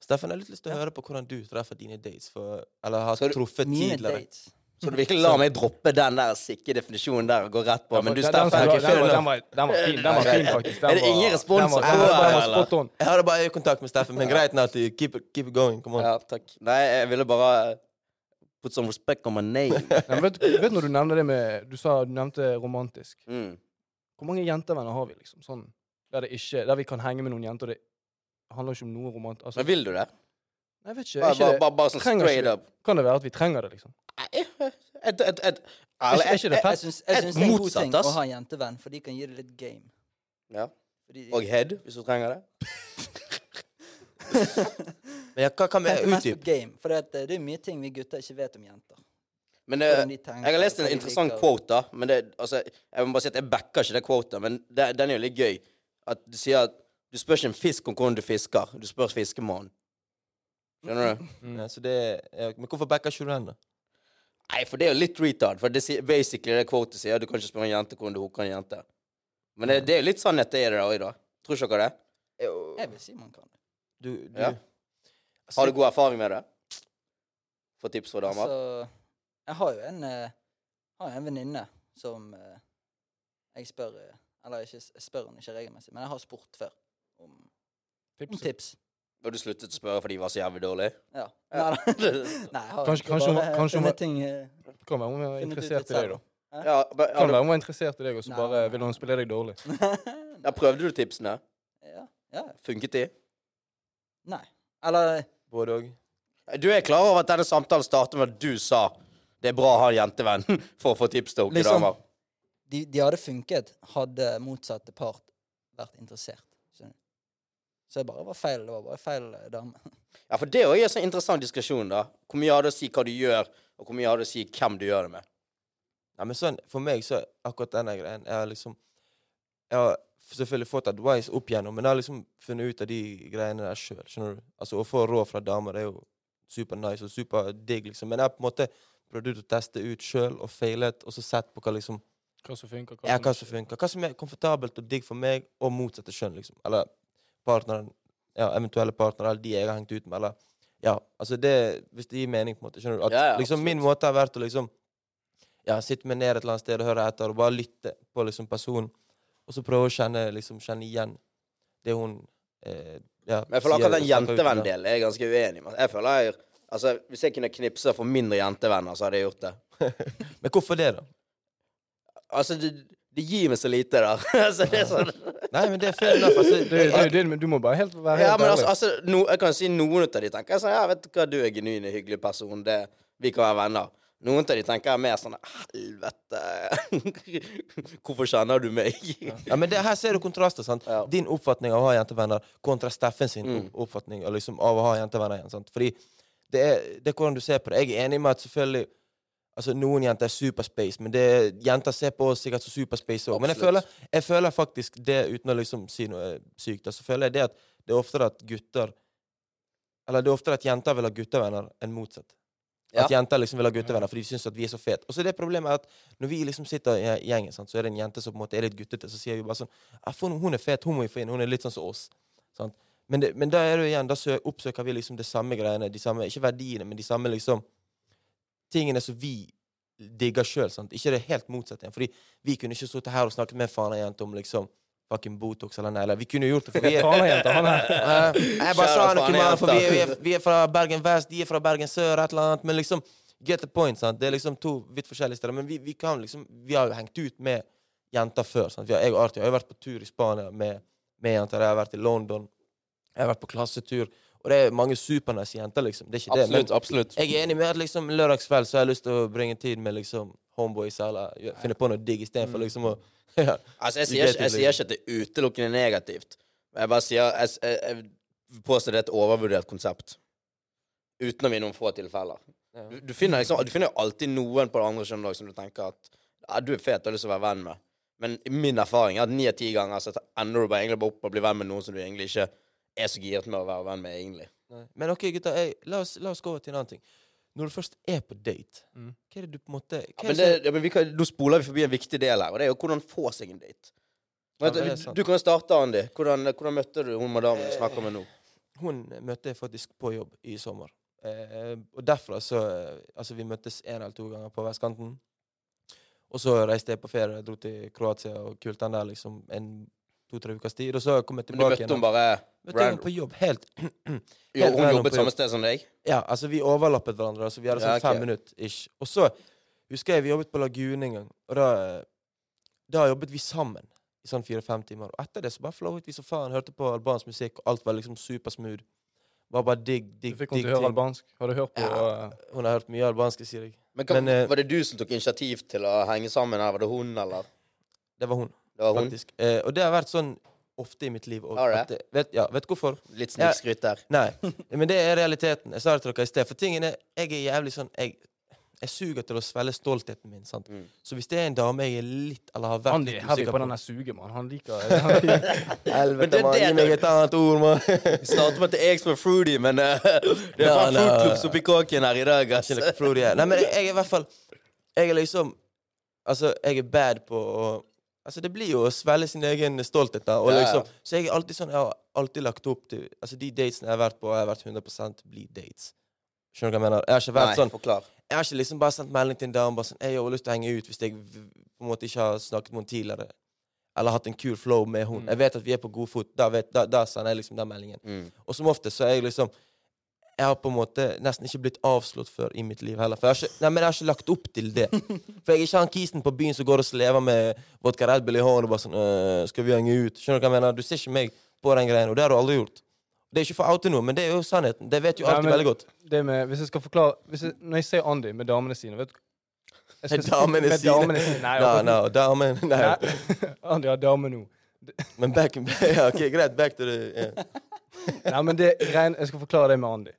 Speaker 2: Steffen, Jeg har litt lyst til å høre på hvordan du treffer dine dates, for, eller har
Speaker 1: Skal du-
Speaker 2: truffet
Speaker 4: Mine
Speaker 2: tidligere.
Speaker 4: dates.
Speaker 1: Så du virkelig lar meg droppe den der sikre definisjonen der og gå rett på.
Speaker 3: Ja, for
Speaker 1: Men du,
Speaker 3: den- den-
Speaker 1: Steffen
Speaker 3: den-
Speaker 1: ok, fair
Speaker 3: den,
Speaker 1: enough.
Speaker 3: den, var, den var fin, den var fin faktisk. Den
Speaker 1: Er det
Speaker 3: var-
Speaker 1: ingen respons
Speaker 3: den
Speaker 1: på
Speaker 3: var- den
Speaker 1: det,
Speaker 3: var- Den var
Speaker 1: eller?
Speaker 3: spot on.
Speaker 2: Jeg hadde bare øyekontakt med Steffen, men greit nå at du keep, it- keep it going. Come on.
Speaker 1: Ja, takk. Nei, jeg ville bare put some respect on my
Speaker 3: [laughs]
Speaker 1: name.
Speaker 3: Nei, men vet, vet når du nevner det med Du sa du nevnte romantisk.
Speaker 1: Mm.
Speaker 3: Hvor mange jentevenner har vi, liksom? Sånn, der, det ikke, der vi kan henge med noen jenter, og det handler ikke om noe romantisk. Altså,
Speaker 1: Men vil du det?
Speaker 3: nei, jeg vet ikke.
Speaker 1: Bare,
Speaker 3: er ikke
Speaker 1: bare,
Speaker 3: det,
Speaker 1: bare, bare sånn
Speaker 3: Trenger
Speaker 1: straight
Speaker 3: ikke.
Speaker 1: up.
Speaker 3: kan det være at vi trenger det, liksom?
Speaker 1: Nei, jeg- jeg- jeg- jeg- ærlig,
Speaker 3: Er ikke, er ikke det
Speaker 1: jeg-
Speaker 4: Jeg
Speaker 3: fett?
Speaker 4: syns
Speaker 1: Et
Speaker 4: jeg syns det er en god
Speaker 1: motsatt,
Speaker 4: ting
Speaker 1: ass.
Speaker 4: å ha en jentevenn, for de kan gi det litt game.
Speaker 1: Ja.
Speaker 4: Fordi,
Speaker 1: Og head, hvis du trenger det.
Speaker 2: Men ja, hva kan vi
Speaker 4: Tenker mest på
Speaker 2: utdype?
Speaker 4: game, for det, at, eh, det er mye ting vi gutter ikke vet om jenter.
Speaker 1: Men det,
Speaker 4: Hvordan de
Speaker 1: Eh,
Speaker 4: tenker,
Speaker 1: jeg har lest
Speaker 4: hva
Speaker 1: en
Speaker 4: de
Speaker 1: interessant
Speaker 4: liker.
Speaker 1: quote, da. Men det, altså, jeg må bare si at jeg backer ikke det quotet, men det, den er jo litt gøy. At du sier at du spør ikke en fisk om hvordan du fisker, du spør fiskemannen. Skjønner du?
Speaker 4: [laughs]
Speaker 2: Ja, så det, ja, men hvorfor backer ikke du den, da?
Speaker 1: Nei, for det er jo litt retard. For det sier, basically det quotet sier, du kan ikke spørre en jente hvordan du hooker en jente. Men det, det er jo litt sannhet det er det der òg, da. Tror ikke dere det?
Speaker 4: Jeg vil si man kan det.
Speaker 2: Du, du,
Speaker 1: Ja. Har du god erfaring med det? For tips fra damer?
Speaker 4: Altså, jeg har jo en, eh, har jo en venninne som eh, jeg spør eh, Eller ikke, s- jeg spør henne ikke regelmessig, men jeg har spurt før om, om
Speaker 3: Tips.
Speaker 4: tips.
Speaker 1: Og du sluttet å spørre fordi de var så jævlig dårlige?
Speaker 4: Ja.
Speaker 1: [laughs] Ja.
Speaker 4: Nei, da. [laughs] Nei, jeg har
Speaker 3: Kanskje-
Speaker 4: egentlig
Speaker 3: kanskje hun-
Speaker 4: bare
Speaker 3: kanskje hun
Speaker 4: funnet
Speaker 3: var-
Speaker 4: ting, eh,
Speaker 3: Kan være hun er
Speaker 4: funnet ut
Speaker 3: interessert
Speaker 4: litt
Speaker 3: i deg, da.
Speaker 4: selv.
Speaker 1: Ja, men,
Speaker 3: Kan
Speaker 1: ja,
Speaker 3: være hun er interessert i deg, og så
Speaker 4: Nei,
Speaker 3: bare
Speaker 4: nei,
Speaker 3: vil
Speaker 4: nei.
Speaker 3: hun spille deg dårlig.
Speaker 1: ja, prøvde du tipsene?
Speaker 4: ja, ja.
Speaker 1: Funket de?
Speaker 4: Nei. Eller
Speaker 2: Både og.
Speaker 1: Du er klar over at denne samtalen startet med at du sa det er bra å ha en jentevenn [laughs] for å få tips til hooke
Speaker 4: Liksom.
Speaker 1: damer?
Speaker 4: de, de hadde funket hadde motsatte part vært interessert. skjønner du. Så det bare var feil. Det var bare feil eh, dame.
Speaker 1: Ja, for det er jo en sånn interessant diskusjon, da. Hvor mye har det å si hva du gjør, og hvor mye har det å si hvem du gjør det med?
Speaker 2: Nei, men sånn, for meg så er akkurat denne greien Jeg har liksom Jeg har f- selvfølgelig fått advice opp igjennom, men jeg har liksom funnet ut av de greiene der sjøl. Skjønner du? Altså, å få råd fra damer det er jo super nice og super digg, liksom. Men jeg har på en måte prøvd ut å teste ut sjøl og feilet, og så sett på hva liksom
Speaker 3: Hva som funker,
Speaker 2: ja, hva som funker. Hva som er komfortabelt og digg for meg, og motsatte kjønn, liksom. Eller partneren, ja, eventuelle partnere, eller de jeg har hengt ut med, eller Ja, altså det Hvis det gir mening, på en måte. Skjønner du? At
Speaker 1: Ja, ja,
Speaker 2: liksom min
Speaker 1: absolutt.
Speaker 2: måte har vært å liksom ja, sitte meg ned et eller annet sted og høre etter, og bare lytte på liksom personen. Og så prøve å kjenne, liksom, kjenne igjen det hun eh, ja,
Speaker 1: Men jeg føler akkurat den
Speaker 2: og snakker ut om det.
Speaker 1: jentevenn-delen er jeg ganske uenig med. Jeg føler jeg, altså, Hvis jeg kunne knipse for mindre jentevenner, så hadde jeg gjort det.
Speaker 2: Men hvorfor det, da?
Speaker 1: Altså, det, det gir meg så lite der. [laughs] altså, det er sånn
Speaker 2: Nei, men det er fair enough.
Speaker 1: [laughs]
Speaker 2: Altså,
Speaker 3: Det, det, det, men du må bare helt være helt
Speaker 1: Ja, men altså,
Speaker 3: ærlig.
Speaker 1: altså no, jeg kan si noen av de tenker sånn Ja, vet du hva, du er genuin og hyggelig person. Det, vi kan være venner. Noen av de tenker mer sånn Helvete. [laughs] Hvorfor kjenner du meg?
Speaker 2: Ja, men det, her ser du kontraster. sant?
Speaker 1: Ja.
Speaker 2: Din oppfatning av å ha jentevenner kontra Steffen sin
Speaker 1: Mm.
Speaker 2: opp- oppfatning av, liksom, av å ha jentevenner igjen. sant? Fordi det er, det er hvordan du ser på det. Jeg er enig med at selvfølgelig altså Noen jenter er superspace, men det, jenter ser på oss sikkert som superspace òg. Men jeg
Speaker 1: Absolutt.
Speaker 2: føler, jeg føler faktisk det, uten å liksom si noe eh, sykt, da, så føler jeg det at det er oftere at gutter Eller det er oftere at jenter vil ha guttevenner enn motsatt. At jenter liksom vil ha guttevenner fordi de syns at vi er så fete. Og så er det problemet at når vi liksom sitter i gjengen, sant, så er det en jente som på en måte er litt guttete, så sier vi bare sånn «Ah, faen, Hun er fet, hun må vi få inn. Hun er litt sånn som oss. Sant? Men, det, men da er det jo igjen, da sø- oppsøker vi liksom de samme greiene, de samme, ikke verdiene, men de samme liksom tingene som vi digger sjøl. Ikke det helt motsatte. igjen. Fordi vi kunne ikke sittet her og snakket med en faenajente om liksom fucking Botox eller negler. Vi kunne jo gjort det, for vi
Speaker 3: [laughs]
Speaker 2: er
Speaker 3: Faen, jenta, han er
Speaker 2: Eh, jeg bare sa
Speaker 1: Kjære
Speaker 2: noe
Speaker 1: faen,
Speaker 2: mer,
Speaker 1: jeg
Speaker 2: for vi
Speaker 1: antar.
Speaker 2: er, vi, er, vi er fra Bergen vest, de er fra Bergen sør, et eller annet. Men liksom, get the point, sant? Det er liksom to vidt forskjellige steder. Men vi, vi kan liksom, vi har jo hengt ut med jenter før. Sant? Vi har, jeg og Arti har jo vært på tur i Spania med, med jenter. Jeg har vært i London. Jeg har vært på klassetur. Og det er mange supernice jenter, liksom. Det er ikke det. men-
Speaker 1: Absolutt. absolutt.
Speaker 2: jeg er enig med at liksom lørdagskveld så har jeg lyst til å bringe tid med liksom homeboys eller gjø- finne på noe digg istedenfor liksom å ja.
Speaker 1: Altså, jeg
Speaker 2: Du
Speaker 1: sier,
Speaker 2: vet
Speaker 1: ikke, jeg
Speaker 2: jo
Speaker 1: sier ikke at det er utelukkende negativt. Jeg bare sier Jeg, jeg, jeg påstår det er et overvurdert konsept. Utenom i noen få tilfeller. Du, du finner liksom Du finner jo alltid noen på det andre kjønnet også som du tenker at ja, du er fet og har lyst til å være venn med. Men min erfaring er at ni av ti ganger så ender du bare egentlig bare opp og blir venn med noen som du egentlig ikke er så giret med å være venn med, egentlig.
Speaker 2: Men ok, gutta, jeg, la, oss, la oss gå over til en annen ting. Når du først er på date,
Speaker 3: Mm.
Speaker 2: hva er det du på en måte hva
Speaker 1: Ja,
Speaker 2: er
Speaker 1: men
Speaker 2: det,
Speaker 1: det, ja, men vi kan, nå spoler vi forbi en viktig del her, og det er jo hvordan få seg en date.
Speaker 2: Ja,
Speaker 1: Vet du,
Speaker 2: det er sant. Eh,
Speaker 1: du kan jo starte, Andy. Hvordan, hvordan møtte du hun madammen du snakker med nå?
Speaker 2: som- Hun møtte jeg faktisk på jobb i sommer. Eh, og derfra så eh, Altså, vi møttes én eller to ganger på vestkanten. Og så reiste jeg på ferie, dro til Kroatia og kulten der liksom en to-tre ukers tid. Og så kom jeg
Speaker 1: Men du
Speaker 2: tilbake
Speaker 1: møtte hun bare
Speaker 2: da. Møtte jeg
Speaker 1: random?
Speaker 2: henne på jobb, helt
Speaker 1: jo, Hun
Speaker 2: random
Speaker 1: jobbet
Speaker 2: på
Speaker 1: samme
Speaker 2: jobb.
Speaker 1: sted som deg?
Speaker 2: Ja, altså vi overlappet hverandre, så vi hadde sånn
Speaker 1: Ja, ok.
Speaker 2: fem minutter ish. Og så husker jeg vi jobbet på Lagune en gang, og da, eh, da jobbet vi sammen i sånn fire-fem timer. Og etter det så bare flowet vi som faen, hørte på albansk musikk, og alt var liksom supersmooth. Var bare digg, [laughs] digg,
Speaker 3: Du fikk
Speaker 2: digg
Speaker 3: henne til å høre
Speaker 2: ting.
Speaker 3: albansk. Har du hørt på
Speaker 2: Ja.
Speaker 3: eh,
Speaker 2: Hun har hørt mye albansk, sier jeg.
Speaker 1: Men, hva,
Speaker 2: Men, eh,
Speaker 1: Var det du som tok initiativ til å henge sammen her? Var det hun, eller?
Speaker 2: Det var hun,
Speaker 1: Det var hun?
Speaker 2: faktisk. Eh, og det har vært sånn ofte i mitt liv. Og,
Speaker 1: Har det?
Speaker 2: at det- vet, ja, vet du hvorfor?
Speaker 1: Litt snikskryt der.
Speaker 2: Nei, men det er realiteten. Jeg sa det til dere i sted. For tingen er, jeg er jævlig sånn Jeg, jeg suger til å svelge stoltheten min. sant?
Speaker 1: Mm.
Speaker 2: Så hvis det er en dame jeg er litt eller har vært
Speaker 3: Andy
Speaker 2: litt
Speaker 3: er heavy
Speaker 2: usikker
Speaker 3: på den der sugemann. Han liker eh, det.
Speaker 1: Men
Speaker 2: [laughs] Helvete,
Speaker 1: det er
Speaker 2: mann.
Speaker 1: det
Speaker 2: Gi
Speaker 1: du-
Speaker 2: meg et annet ord, mann.
Speaker 1: Startet med at jeg som er fruity, men eh, [laughs] det er
Speaker 2: Ja,
Speaker 1: faen
Speaker 2: nei.
Speaker 1: fruitklubbs oppi kåken her i dag, ass.
Speaker 2: Ikke noe Frode her. Nei, men jeg er i hvert fall Jeg er liksom Altså, jeg er bad på å Altså, det blir jo å svelge sin egen stolthet, da. Og
Speaker 1: Ja, ja.
Speaker 2: liksom, så jeg er alltid sånn Jeg har alltid lagt opp til Altså, de datene jeg har vært på, har jeg vært 100 blir dates. Skjønner du hva jeg mener? Jeg har ikke vært
Speaker 1: Nei,
Speaker 2: sånn
Speaker 1: forklar.
Speaker 2: Jeg har ikke liksom bare sendt melding til en dame bare sånn, «Ei, jeg har lyst til å henge ut hvis jeg v- på en måte ikke har snakket med henne tidligere. Eller hatt en kul flow med henne.
Speaker 3: Mm.
Speaker 2: Jeg vet at vi er på god fot. Da, vet, da, da sender jeg liksom den meldingen.
Speaker 1: Mm.
Speaker 2: Og som ofte så er jeg liksom Jeg har på en måte nesten ikke blitt avslått før i mitt liv heller. For jeg har ikke, nei, men jeg har ikke lagt opp til
Speaker 3: [laughs]
Speaker 2: det. For jeg er ikke han kisen på byen som går og slever med vodka Red Bull i hånden og bare sånn «Øh, Skal vi henge ut? Skjønner du hva jeg mener? Du ser ikke meg på den greien, og det har du aldri gjort. Det er ikke for å oute noe, men det er jo sannheten. Det vet jo
Speaker 3: Nei,
Speaker 2: alltid
Speaker 3: men-
Speaker 2: veldig godt. [laughs]
Speaker 3: det med, hvis jeg skal forklare hvis jeg, Når jeg sier Andy med damene sine vet du, jeg skal-
Speaker 2: Med damene
Speaker 3: med
Speaker 2: sine.
Speaker 3: damene sine. Nei,
Speaker 2: Nei,
Speaker 3: akkurat
Speaker 2: nei,
Speaker 3: nå.
Speaker 2: damen, nei.
Speaker 3: Nei, Andy har dame nå.
Speaker 2: Men back, [laughs] ja, ok, greit, back to the ja.
Speaker 3: Nei, men det greien, Jeg skal forklare det med Andy.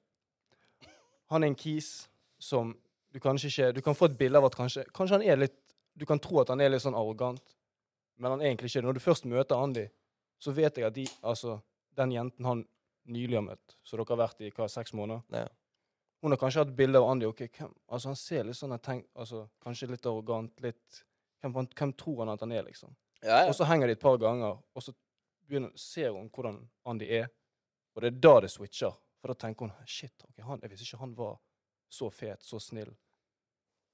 Speaker 3: Han er en kis som du kanskje ikke Du kan få et bilde av at kanskje Kanskje han er litt Du kan tro at han er litt sånn arrogant, men han er egentlig ikke det. Når du først møter Andy, så vet jeg at de Altså, den jenten han nylig har møtt, så dere har vært i hva, seks måneder
Speaker 2: Ja.
Speaker 3: Hun har kanskje hatt bilde av Andy. ok, hvem, altså Han ser litt sånn jeg tenk, altså, Kanskje litt arrogant, litt hvem, han- hvem tror han at han er, liksom?
Speaker 1: Ja, ja.
Speaker 3: Og så henger de et par ganger, og så begynner, ser hun hvordan Andy er. Og det er da det switcher. For da tenker hun shit, ok, han, jeg visste ikke han var så fet, så snill.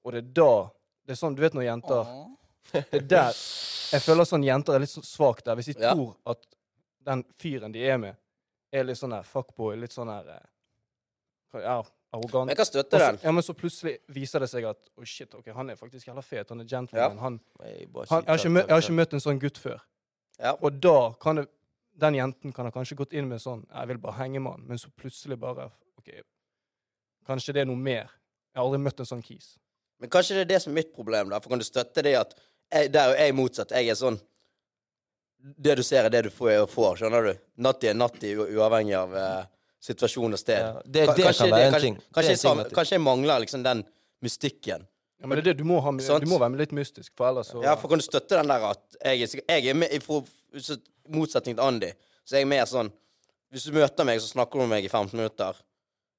Speaker 3: Og det er da Det er sånn, Du vet når jenter
Speaker 4: Åh.
Speaker 3: Det er der Jeg føler sånn jenter er litt så svak der. Hvis de
Speaker 1: Ja.
Speaker 3: tror at den fyren de er med, er litt sånn der fuckboy, litt sånn der eh, Ja, arrogant.
Speaker 1: Men jeg kan støtte
Speaker 3: Og så-
Speaker 1: den.
Speaker 3: Ja, men så plutselig viser det seg at oh shit, ok, han er faktisk jævla fet. Han er gentleman.
Speaker 1: Ja.
Speaker 3: Han,
Speaker 2: Jeg, bare
Speaker 3: han, jeg, har
Speaker 2: skyter
Speaker 3: ikke møtt, jeg har ikke
Speaker 2: alt.
Speaker 3: møtt en sånn gutt før.
Speaker 1: Ja.
Speaker 3: Og da kan det Den jenten kan ha kanskje gått inn med sånn Jeg vil bare henge med han, men så plutselig bare OK, kanskje det er noe mer. Jeg har aldri møtt en sånn kis.
Speaker 1: Men kanskje det er det som er mitt problem, da. For kan du støtte det at jeg, Der er jo jeg motsatt. Jeg er sånn Det du ser, er det du får, får skjønner du? Natti er natti, u- uavhengig av eh, situasjon og sted.
Speaker 2: Ja, det-
Speaker 1: Ka-
Speaker 2: det
Speaker 1: kanskje
Speaker 2: kan være en
Speaker 1: kanskje,
Speaker 2: ting. Det er
Speaker 1: Kanskje,
Speaker 2: en
Speaker 1: jeg, sam-
Speaker 2: ting, Matti.
Speaker 1: kanskje jeg mangler liksom den mystikken.
Speaker 3: Ja, men det er det, du må, ha,
Speaker 1: Sant.
Speaker 3: du må være litt mystisk, for ellers så
Speaker 1: Ja, for kan du støtte den der at Jeg er, sikk- jeg er med, i for, så- motsetning til Andy, så er jeg mer sånn Hvis du møter meg, så snakker du med meg i 15 minutter.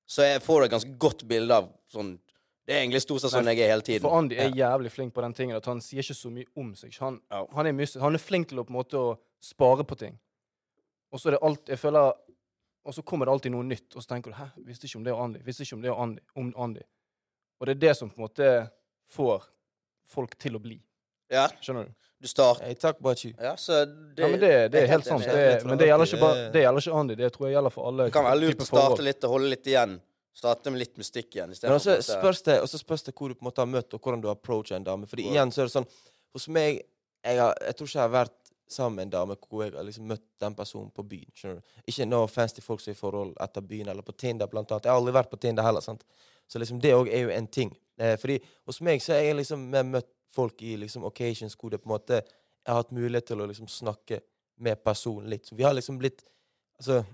Speaker 1: Så jeg får du et ganske godt bilde av sånn Det er egentlig stort sett sånn jeg er hele tiden.
Speaker 3: For Andy er jævlig flink på den tingen at han sier ikke så mye om seg. Han,
Speaker 1: Ja.
Speaker 3: han, er, mystisk. han er flink til å på en måte å spare på ting. Og så er det alt, jeg føler, og så kommer det alltid noe nytt, og så tenker du 'hæ, visste ikke om det og Andy'. Visste ikke om det og Andy. Om Andy. Og det er det som på en måte får folk til å bli.
Speaker 1: Ja,
Speaker 3: Skjønner du?
Speaker 1: du starter
Speaker 2: Hey, takk, Bachi.
Speaker 1: Ja, så det,
Speaker 3: ja, men det, det
Speaker 1: jeg
Speaker 3: er helt sant.
Speaker 1: enig.
Speaker 3: Det, er- men det gjelder ikke, bare,
Speaker 2: Det-
Speaker 3: det gjelder ikke Andy. Det tror jeg gjelder for alle.
Speaker 1: Det kan være lurt
Speaker 3: typer
Speaker 1: å starte
Speaker 3: forhold. altså,
Speaker 1: litt og holde litt igjen. Starte med litt mystikk igjen. i stedet
Speaker 2: Men
Speaker 1: for
Speaker 2: også
Speaker 1: å måtte-
Speaker 2: spørs det, også spørs det hvor du på en måte har møtt, og hvordan du approacher en dame. Fordi
Speaker 1: Wow.
Speaker 2: igjen så er det sånn Hos meg jeg, har, jeg tror ikke jeg har vært sammen med en dame hvor jeg har liksom møtt den personen på byen. skjønner du? Ikke no offense til folk som er i forhold etter byen, eller på Tinder, blant annet. Jeg har aldri vært på Tinder heller. sant? Så liksom det òg er jo en ting. Eh, fordi hos meg så har jeg liksom mer møtt folk i liksom occasions hvor det på en måte jeg har hatt mulighet til å liksom snakke med personen litt. Så vi har liksom blitt Altså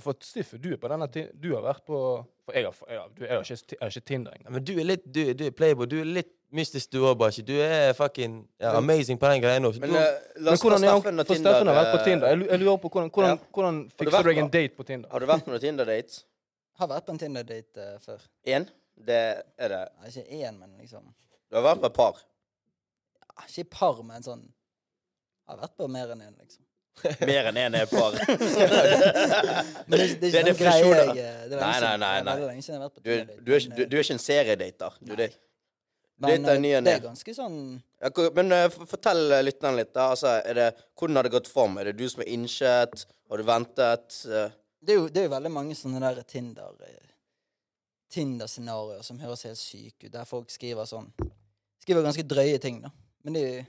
Speaker 3: For Stiffer, du er på denne ti- Du har vært på For jeg har, jeg har, jeg har, ikke, jeg har ikke Tinder engang.
Speaker 2: Ja, men du er litt du, du er playboy. Du er litt mystisk, du òg, Bashi. Du er fucking ja, amazing på den greia nå.
Speaker 1: Men
Speaker 2: Du-
Speaker 1: eh, la
Speaker 3: Men
Speaker 1: oss ta
Speaker 3: hvordan er han,
Speaker 1: Steffen og
Speaker 3: for Steffen har vært på
Speaker 1: eh,
Speaker 3: Tinder. Jeg lu- jeg lurer på hvordan, hvordan,
Speaker 1: Ja.
Speaker 3: hvordan
Speaker 1: du
Speaker 3: fikser du
Speaker 1: vært
Speaker 3: deg en
Speaker 1: på-
Speaker 3: date på Tinder?
Speaker 1: Har du vært på noen Tinder-date?
Speaker 4: Har vært på en Tinder-date eh, før.
Speaker 1: Én? Det er det.
Speaker 4: Nei, ikke én, men liksom
Speaker 1: Du har vært på et par.
Speaker 4: ja, Ikke par, men sånn Har vært på mer enn én, liksom.
Speaker 1: Mer enn én er et
Speaker 3: [laughs]
Speaker 1: par.
Speaker 4: Men det, er ikke- det
Speaker 1: Det
Speaker 4: er
Speaker 1: er
Speaker 4: ikke sånn greie
Speaker 1: definisjoner.
Speaker 4: jeg eh, det
Speaker 1: Nei,
Speaker 4: er lenge
Speaker 1: nei,
Speaker 4: siden-
Speaker 1: nei,
Speaker 4: det er
Speaker 1: nei.
Speaker 4: veldig lenge siden jeg har vært på
Speaker 1: Du, er-
Speaker 4: Tinder-date,
Speaker 1: du, er, ikke-
Speaker 4: men,
Speaker 1: du, du er ikke en seriedater. Du, det.
Speaker 4: eh,
Speaker 1: du er ikke
Speaker 4: men,
Speaker 1: ny
Speaker 4: eh,
Speaker 1: enn
Speaker 4: det
Speaker 1: det.
Speaker 4: er ganske sånn
Speaker 1: Ja, ko- Men eh, f- fortell eh, lytterne litt. da. Altså, er det, hvordan har det gått fram? Er det du som er innsett? Har du ventet? Eh,
Speaker 4: Det er jo, det er jo veldig mange sånne der Tinder eh, Tinder-scenarioer som høres helt syke ut, der folk skriver sånn Skriver ganske drøye ting, da. Men det er jo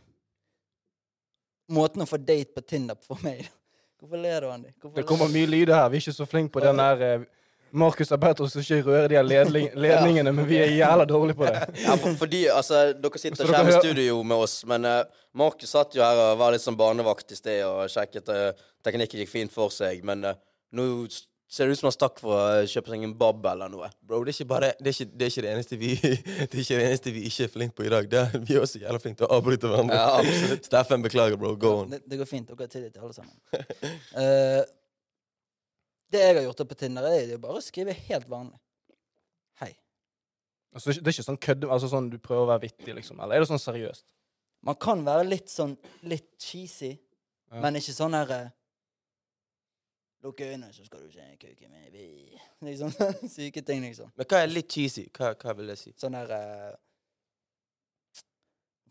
Speaker 4: Måten å få date på Tinder på for meg Hvorfor ler du, Andy? Hvorfor
Speaker 3: Det
Speaker 4: ler
Speaker 3: kommer mye lyder her. Vi er ikke så flinke på den der eh, Markus er bedre til å ikke røre de her ledling, [laughs] ledningene, men vi er jævla dårlige på det.
Speaker 1: Ja, for, fordi, altså, dere sitter
Speaker 3: Så
Speaker 1: ikke
Speaker 3: dere
Speaker 1: her i
Speaker 3: hører-
Speaker 1: studio med oss, men eh, Markus satt jo her og var litt som barnevakt i sted og sjekket uh, teknikken gikk fint for seg, men eh, nå s- ser det ut som han stakk for å eh, kjøpe seg en bab eller noe.
Speaker 2: Bro, det er ikke bare Det er ikke det, er ikke det eneste vi [laughs] Det er ikke det eneste vi ikke er flinke på i dag. Det er, vi er også jævla flinke til å avbryte hverandre.
Speaker 1: Ja, absolutt.
Speaker 2: [laughs] Steffen, beklager, bro. Go on.
Speaker 4: Det, det går fint. Dere har tillit til alle sammen. [laughs] Eh, det jeg har gjort opp på Tinder, er jo bare å skrive helt vanlig. Hei.
Speaker 3: [laughs] Altså, det er ikke- det er ikke sånn kødde, altså sånn du prøver å være vittig, liksom. Eller er det sånn seriøst?
Speaker 4: Man kan være litt sånn litt cheesy,
Speaker 3: Ja.
Speaker 4: men ikke sånn her eh, Lukke øynene, så skal du se kuken min vi- [laughs] Liksom syke ting, liksom.
Speaker 2: Men hva er litt cheesy? Hva, hva vil jeg si?
Speaker 4: Sånn der eh,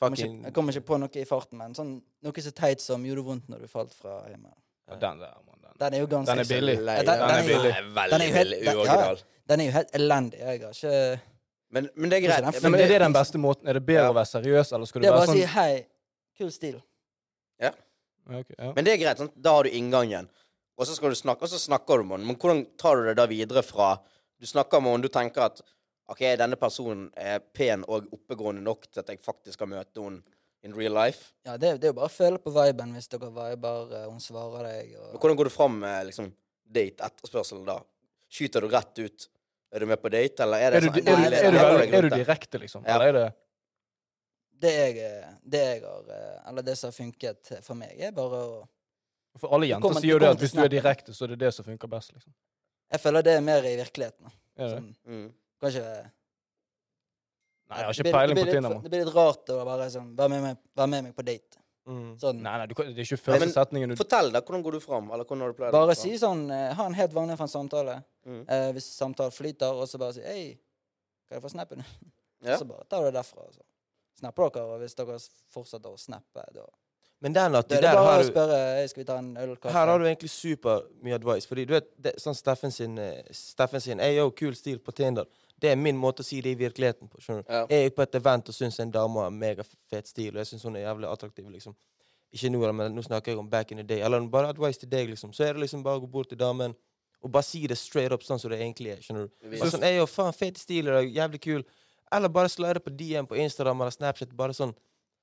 Speaker 4: kommer ikke,
Speaker 2: Fucking
Speaker 4: Jeg kommer ikke på noe i farten, men sånn, noe så teit som 'gjorde vondt når du falt fra himmelen'.
Speaker 3: Ja, den der, man, den.
Speaker 4: Den er jo ganske
Speaker 3: Den er billig.
Speaker 1: Lei-
Speaker 4: Ja, den-
Speaker 3: den er billig.
Speaker 1: veldig
Speaker 4: Den er jo helt-
Speaker 1: veldig
Speaker 4: den- ja, ja.
Speaker 1: uoriginal.
Speaker 4: Den er jo helt elendig. Jeg har ikke
Speaker 1: Men, men det er
Speaker 4: Ikke
Speaker 1: greit.
Speaker 4: den
Speaker 3: Nei, men er det den
Speaker 4: liksom-
Speaker 3: beste måten? Er det bedre
Speaker 1: Ja.
Speaker 3: å være seriøs, eller skal du
Speaker 4: Det er
Speaker 3: være
Speaker 4: bare å si
Speaker 3: sånn
Speaker 4: 'hei, kul stil'.
Speaker 3: Ja, ok, ja.
Speaker 1: Men det er greit, sant? da har du inngangen. Og så, skal du snakke, og så snakker du med henne. Men hvordan tar du det da videre fra Du snakker med henne, du tenker at OK, denne personen er pen og oppegående nok til at jeg faktisk skal møte henne in real life.
Speaker 4: Ja, det, det er jo bare å føle på viben hvis dere viber, eh, hun svarer deg
Speaker 1: Men
Speaker 4: og
Speaker 1: hvordan går du fram med liksom, date etterspørselen da? Skyter du rett ut? Er du med på date, eller er det
Speaker 3: Er du, er,
Speaker 1: sånn
Speaker 3: du, er, du,
Speaker 1: Nei,
Speaker 3: er, du,
Speaker 1: det
Speaker 3: veldig-
Speaker 1: jeg
Speaker 3: er du
Speaker 1: ute.
Speaker 3: direkte, liksom?
Speaker 1: Ja.
Speaker 3: Eller er det
Speaker 4: det jeg, eh, det jeg har eh, Eller det som har funket for meg, er bare å
Speaker 3: For alle
Speaker 4: Du
Speaker 3: jenter
Speaker 4: kommer-
Speaker 3: sier jo
Speaker 4: du
Speaker 3: det
Speaker 4: kommer
Speaker 3: at hvis
Speaker 4: til
Speaker 3: du er
Speaker 4: snappen.
Speaker 3: direkte, så er det det som funker best, liksom.
Speaker 4: Jeg føler det er mer i virkeligheten. da.
Speaker 3: Er det? det?
Speaker 4: Sånn,
Speaker 1: Mm.
Speaker 4: kanskje
Speaker 3: Nei, jeg har
Speaker 4: Det blir-
Speaker 3: ikke peiling
Speaker 4: det
Speaker 3: på
Speaker 4: blir litt-
Speaker 3: Tinder, mann.
Speaker 4: Det blir litt rart å bare sånn Vær med meg, vær med meg på date.
Speaker 2: mm.
Speaker 4: Sånn.
Speaker 3: Nei, nei, du, kan- det er ikke
Speaker 1: Nei,
Speaker 3: første
Speaker 1: men-
Speaker 3: setningen du
Speaker 1: Fortell, da. Hvordan går du fram? Eller hvordan har du pleid å gå fram?
Speaker 4: Bare si sånn eh, Ha en helt vanlig for en samtale.
Speaker 1: Mm.
Speaker 4: Eh, hvis samtalen flyter, og så bare si 'Hei, kan jeg få snappen?' [laughs]
Speaker 1: Ja.
Speaker 4: Så bare tar du det derfra. og Så snapper dere, og hvis dere fortsetter å snappe, da
Speaker 2: Men den at
Speaker 4: Det er
Speaker 2: der
Speaker 4: det bare
Speaker 2: har
Speaker 4: å
Speaker 2: du
Speaker 4: spørre «Hei, Skal vi ta en øl? kaffe?»
Speaker 2: Her har du egentlig super mye advice. Fordi du vet, det, sånn Steffen sin, eh, Steffen sin «Ey, yo, kul stil på Tinder. Det er min måte å si det i virkeligheten på. skjønner du?
Speaker 1: Ja.
Speaker 2: Jeg er på et event og syns en dame har megafet stil, og jeg syns hun er jævlig attraktiv. liksom. Ikke nå, da, men nå snakker jeg om back in the day. Eller bare advice til deg, liksom. Så er det liksom bare å gå bort til damen og bare si det straight up sånn som det egentlig er. skjønner du? Bare sånn, «Ey, yo, faen, fet stil, og jævlig kul. Eller bare slide på DM på Instagram eller Snapchat. Bare sånn,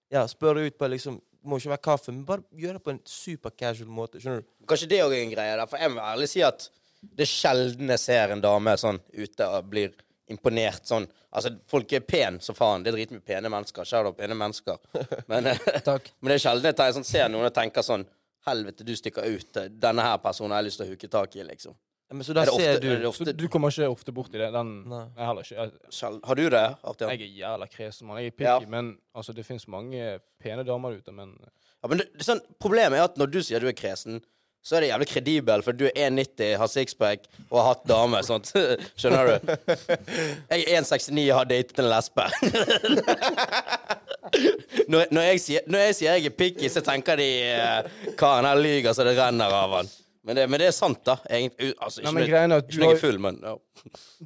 Speaker 2: ja, spørre ut på liksom, må ikke være kaffe, men bare gjøre det på en super casual måte, skjønner du?
Speaker 1: Kanskje det òg er en greie. der, For jeg må ærlig si at det er sjelden jeg ser en dame sånn ute og blir imponert sånn. Altså, folk er pene som faen. Det er dritmye pene mennesker. Kjære pene mennesker. Men, eh,
Speaker 4: Takk.
Speaker 1: [laughs] men det er sjelden jeg tar- sånn, ser noen og tenker sånn Helvete, du stikker ut. Denne her personen har jeg lyst til å huke tak i, liksom.
Speaker 2: Ja, Men så da
Speaker 1: Er det ofte,
Speaker 2: ser du
Speaker 1: er det
Speaker 3: Så
Speaker 1: ofte
Speaker 3: du kommer ikke ofte borti det? Den
Speaker 2: Nei.
Speaker 3: Nei, heller ikke. Jeg,
Speaker 1: sjel- Har du det, Artian?
Speaker 3: jeg er jævla kresen, mann. Jeg er
Speaker 1: Ja.
Speaker 3: picky, men altså, det fins mange pene damer der ute, men
Speaker 1: Ja, men det, det, er sånn, Problemet er at når du sier du er kresen, så er det jævlig kredibel, for du er 1,90, har sixpack og har hatt dame. [laughs] sånt. Skjønner du? Jeg er 1,69 og har datet en lesbe. [laughs] Når, når, jeg sier, når jeg sier jeg er picky, så tenker de eh, karen her lyger så det renner av han. Men det, men det er sant, da. Egent, u- altså,
Speaker 3: Nei,
Speaker 1: ikke
Speaker 3: men
Speaker 1: når-
Speaker 3: greien er at
Speaker 1: ikke
Speaker 3: du
Speaker 1: når jeg
Speaker 3: har-
Speaker 1: er full, men ja.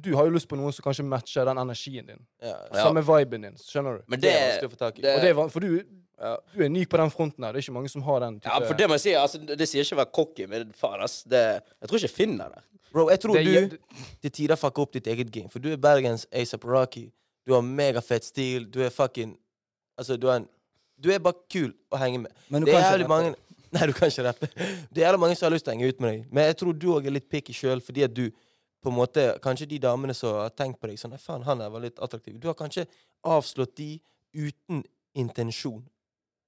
Speaker 3: Du har jo lyst på noen som kanskje matcher den energien din.
Speaker 2: ja,
Speaker 1: Ja.
Speaker 3: Samme viben din, skjønner du?
Speaker 1: Men
Speaker 2: Det
Speaker 1: det,
Speaker 2: er vanskelig å få tak i.
Speaker 1: det-
Speaker 3: Og det er van- For du,
Speaker 1: Ja.
Speaker 3: du er unik på den fronten her. Det er ikke mange som har den type
Speaker 1: ja, for det må jeg si. Altså, det, det sier ikke å være cocky, men faen, ass. Det, jeg tror ikke jeg finner det.
Speaker 2: Bro, jeg tror
Speaker 3: Det gir-
Speaker 2: du til tider fucker opp ditt eget game. For du er Bergens A$AP Rocky. Du har megafett stil. Du er fucking Altså, du er en Du er bare kul å henge med.
Speaker 4: Men du
Speaker 2: det
Speaker 4: kan
Speaker 2: er
Speaker 4: ikke
Speaker 2: jævlig
Speaker 4: rappe.
Speaker 2: mange [laughs] Nei, du kan ikke rappe. Det er jævlig mange som har lyst til å henge ut med deg. Men jeg tror du òg er litt picky sjøl, fordi at du på en måte, Kanskje de damene som har tenkt på deg sånn Nei, faen, han der var litt attraktiv. Du har kanskje avslått de uten intensjon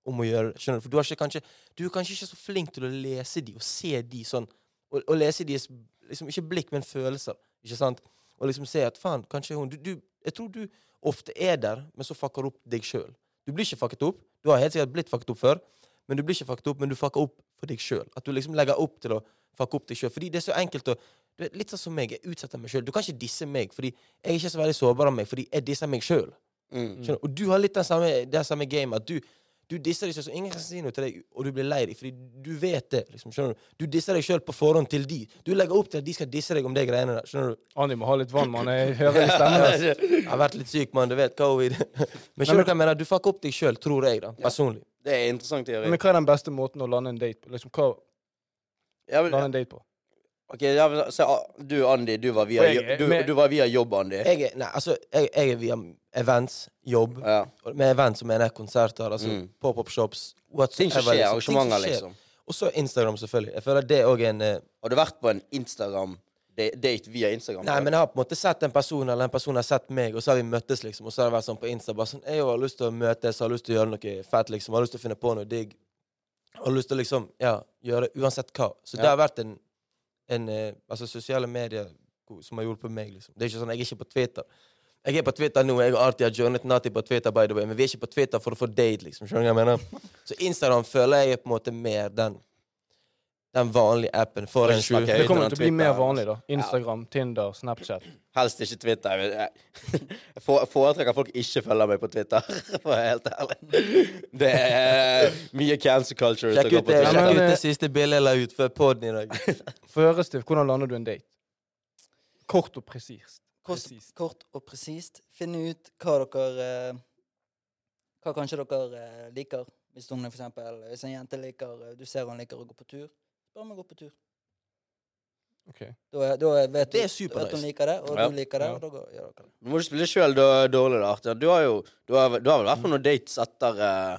Speaker 2: om å gjøre det. Skjønner du? For du, har ikke, kanskje, du er kanskje ikke så flink til å lese de og se de sånn Og, og lese deres liksom, Ikke blikk, men følelser. Ikke sant? Og liksom se at faen, kanskje hun du, du, Jeg tror du ofte er der, men så fucker opp deg sjøl. Du blir ikke fucket opp. Du har helt sikkert blitt fucket opp før, men du blir ikke fucket opp, men du fucker opp for deg sjøl. At du liksom legger opp til å fucke opp deg sjøl. Fordi det er så enkelt å du vet, Litt sånn som meg. Jeg utsetter meg sjøl. Du kan ikke disse meg, fordi jeg er ikke så veldig sårbar av meg, fordi jeg disser meg sjøl.
Speaker 1: [laughs] Mm.
Speaker 2: Skjønner? du? Og du har litt den samme, det samme game, at du, du disser deg selv, så ingen kan si noe til deg, og du blir lei deg, fordi du vet det. liksom, skjønner Du Du disser deg sjøl på forhånd til de. Du legger opp til at de skal disse deg om de greiene der. skjønner du?
Speaker 3: Anni må ha litt vann, mann. Jeg
Speaker 1: [laughs]
Speaker 3: hører det stemmer.
Speaker 2: Jeg har vært litt syk, mann, du vet, covid. [laughs] Men skjønner du hva jeg mener? Du fucker opp deg sjøl, tror jeg, da, personlig.
Speaker 1: Det er en interessant teori.
Speaker 3: Men hva er den beste måten å lande en date på? Liksom, hva
Speaker 1: Ja, men-
Speaker 3: lande en date på?
Speaker 1: Ok, ja, men, så, ah, du Andy, du var via,
Speaker 3: Og jeg-
Speaker 1: jo- du,
Speaker 3: men-
Speaker 1: du var via jobb, Andy.
Speaker 2: Jeg er, nei, altså, jeg, jeg er via events, jobb.
Speaker 1: Ja.
Speaker 2: Og Med events så mener jeg konserter, altså
Speaker 1: Mm.
Speaker 2: pop-up-shops,
Speaker 1: Ting som
Speaker 2: whatsoever.
Speaker 1: skjer,
Speaker 2: liksom. Ting som
Speaker 1: arrangementer,
Speaker 2: skjer.
Speaker 1: liksom.
Speaker 2: Og så Instagram, selvfølgelig. Jeg føler det òg er en eh,
Speaker 1: Har du vært på en Instagram-date via Instagram?
Speaker 2: Nei, men jeg har på en måte sett en person, eller en person har sett meg, og så har vi møttes, liksom. Og så har det vært sånn på Insta bare sånn Jeg har lyst til å møtes, har lyst til å gjøre noe fett, liksom. Har lyst til å finne på noe digg. Har lyst til å liksom Ja, gjøre uansett hva. Så det
Speaker 1: Ja.
Speaker 2: har vært en, en eh, Altså, sosiale medier ko- som har hjulpet meg, liksom. Det er ikke sånn Jeg er ikke på Twitter. Jeg er på Twitter nå. Jeg og Arti har joinet Nati på Twitter, by the way. Men vi er ikke på Twitter for å få date, liksom. Skjønner du hva jeg mener? Så Instagram føler jeg er på en måte mer den den vanlige appen for en
Speaker 1: snakker
Speaker 2: sju.
Speaker 1: jeg
Speaker 3: Det kommer
Speaker 1: Uten
Speaker 3: til å bli
Speaker 1: Twitter,
Speaker 3: mer
Speaker 1: altså.
Speaker 3: vanlig, da. Instagram, Tinder, Snapchat.
Speaker 1: Helst ikke Twitter. Jeg vet- jeg fore- foretrekker at folk ikke følger meg på Twitter, [laughs] for å være helt ærlig. Det er mye cancer culture som
Speaker 2: Sjekk
Speaker 1: går
Speaker 2: ut,
Speaker 1: på
Speaker 2: det,
Speaker 3: Ja,
Speaker 1: Twitter.
Speaker 2: sjekk
Speaker 3: men,
Speaker 2: ut
Speaker 3: eh,
Speaker 2: det siste bildet jeg la ut før podden i
Speaker 1: [laughs]
Speaker 2: dag.
Speaker 3: For øret, Stiv, hvordan lander du en date? Kort og presist.
Speaker 4: Kort,
Speaker 3: Presist.
Speaker 4: kort og presist. Finne ut hva dere eh, Hva kanskje dere eh, liker. Hvis hun for eksempel, hvis en jente liker eh, Du ser hun liker å gå på tur, spør om å gå på tur.
Speaker 3: Ok.
Speaker 4: Da, er- da er- vet
Speaker 2: Det er
Speaker 4: du-
Speaker 2: super
Speaker 4: da vet hun
Speaker 2: nice.
Speaker 4: liker det, og
Speaker 1: Ja.
Speaker 4: du liker det,
Speaker 3: Ja.
Speaker 4: og da går- gjør dere det.
Speaker 1: Du må ikke spille sjøl dårlig, da. Arthur. Du har jo du har, du har vel vært på noen dates etter eh,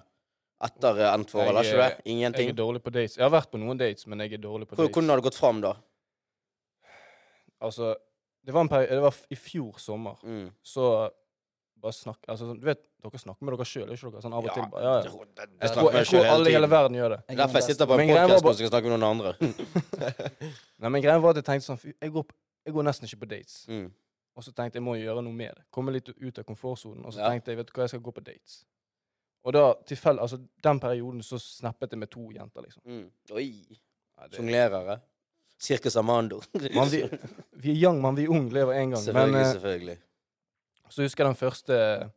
Speaker 1: etter eh, endt forhold, har
Speaker 3: Jeg
Speaker 1: ikke du
Speaker 3: er-
Speaker 1: det?
Speaker 3: Jeg er
Speaker 1: Ingenting?
Speaker 3: dårlig på dates. Jeg har vært på noen dates, men jeg er dårlig på
Speaker 1: Hvor- Hvordan
Speaker 3: dates.
Speaker 1: har det gått fram, da?
Speaker 3: Altså, det var, en peri det var f- i fjor sommer,
Speaker 1: Mm.
Speaker 3: så bare snakk altså, sånn, Du vet, dere snakker med dere sjøl, ikke dere? Sånn av og til. bare, Ja, ja. Jeg
Speaker 1: Jeg
Speaker 3: tror,
Speaker 1: snakker med
Speaker 3: jeg
Speaker 1: meg
Speaker 3: tror
Speaker 1: sjøl hele
Speaker 3: alle i hele
Speaker 1: tiden.
Speaker 3: verden gjør det.
Speaker 4: Jeg er
Speaker 1: Derfor jeg
Speaker 4: den
Speaker 1: sitter på en
Speaker 3: Men greia var
Speaker 1: podkast
Speaker 3: bare-
Speaker 1: og skal snakke med noen andre.
Speaker 3: Nei, men greia var at jeg tenkte sånn fy, jeg går, på- jeg går nesten ikke på dates.
Speaker 1: Mm.
Speaker 3: Og så tenkte jeg må gjøre noe med det. Komme litt ut av komfortsonen. Og så
Speaker 1: Ja.
Speaker 3: tenkte jeg vet du hva, jeg skal gå på dates. Og da, tilfell, altså den perioden så snappet jeg med to jenter, liksom.
Speaker 1: Mm. Oi.
Speaker 3: Ja, det,
Speaker 1: Sjonglerere. Cirkus Amando. [laughs]
Speaker 3: man, vi, vi er young, man. Vi er ung, lever én gang.
Speaker 1: selvfølgelig,
Speaker 3: Men eh,
Speaker 1: selvfølgelig.
Speaker 3: så husker jeg den første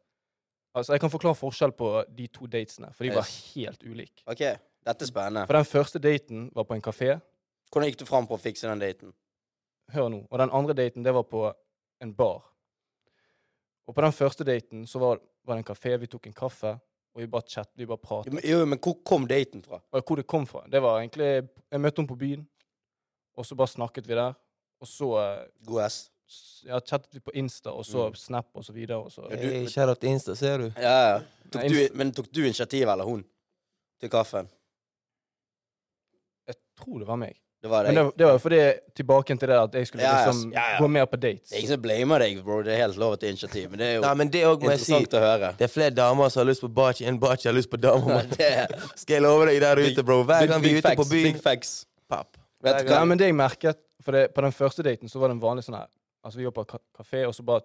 Speaker 3: Altså, jeg kan forklare forskjell på de to datene, for de var
Speaker 1: Yes.
Speaker 3: helt ulike.
Speaker 1: OK, dette er spennende.
Speaker 3: For den første daten var på en kafé,
Speaker 1: Hvordan gikk du fram på å fikse den daten?
Speaker 3: hør nå, og den andre daten, det var på en bar. Og på den første daten så var, var det en kafé, vi tok en kaffe, og vi bare chat, vi bare pratet.
Speaker 1: Jo, men hvor kom daten fra?
Speaker 3: Og hvor det kom fra, det var egentlig, jeg møtte henne på byen, og så bare snakket vi der, og så eh,
Speaker 1: God S.
Speaker 3: s- ja, chattet vi på Insta, og så
Speaker 1: Mm.
Speaker 3: Snap, og så videre, og så...
Speaker 1: du-
Speaker 2: Hey, Kjære til Insta, ser du?
Speaker 1: Ja, ja. Tok
Speaker 3: Nei,
Speaker 1: du, men tok du initiativet, eller hun? Til kaffen?
Speaker 3: Jeg tror det var meg.
Speaker 1: Det var det.
Speaker 3: Men det, det var jo fordi, tilbake til det at jeg skulle
Speaker 1: Ja, ja,
Speaker 3: liksom
Speaker 1: ja, ja.
Speaker 3: gå mer på dates.
Speaker 1: Det er ingen som blamer deg, bro. Det er helt lov å ta initiativ, men det er jo
Speaker 2: Nei, men det òg må jeg si.
Speaker 1: interessant å høre.
Speaker 2: Det er flere damer som har lyst på bachi enn bachi har lyst på damer.
Speaker 1: Det er
Speaker 2: [laughs] Skal jeg love deg der
Speaker 1: Big-
Speaker 2: ute, bro. Hver gang vi er ute på
Speaker 1: facts,
Speaker 2: byen
Speaker 1: Big facts.
Speaker 2: Papp.
Speaker 1: Vet du
Speaker 3: Nei,
Speaker 1: hva?
Speaker 3: men det jeg merket For det, på den første daten så var det en vanlig sånn her Altså vi var på ka- kafé, og så bare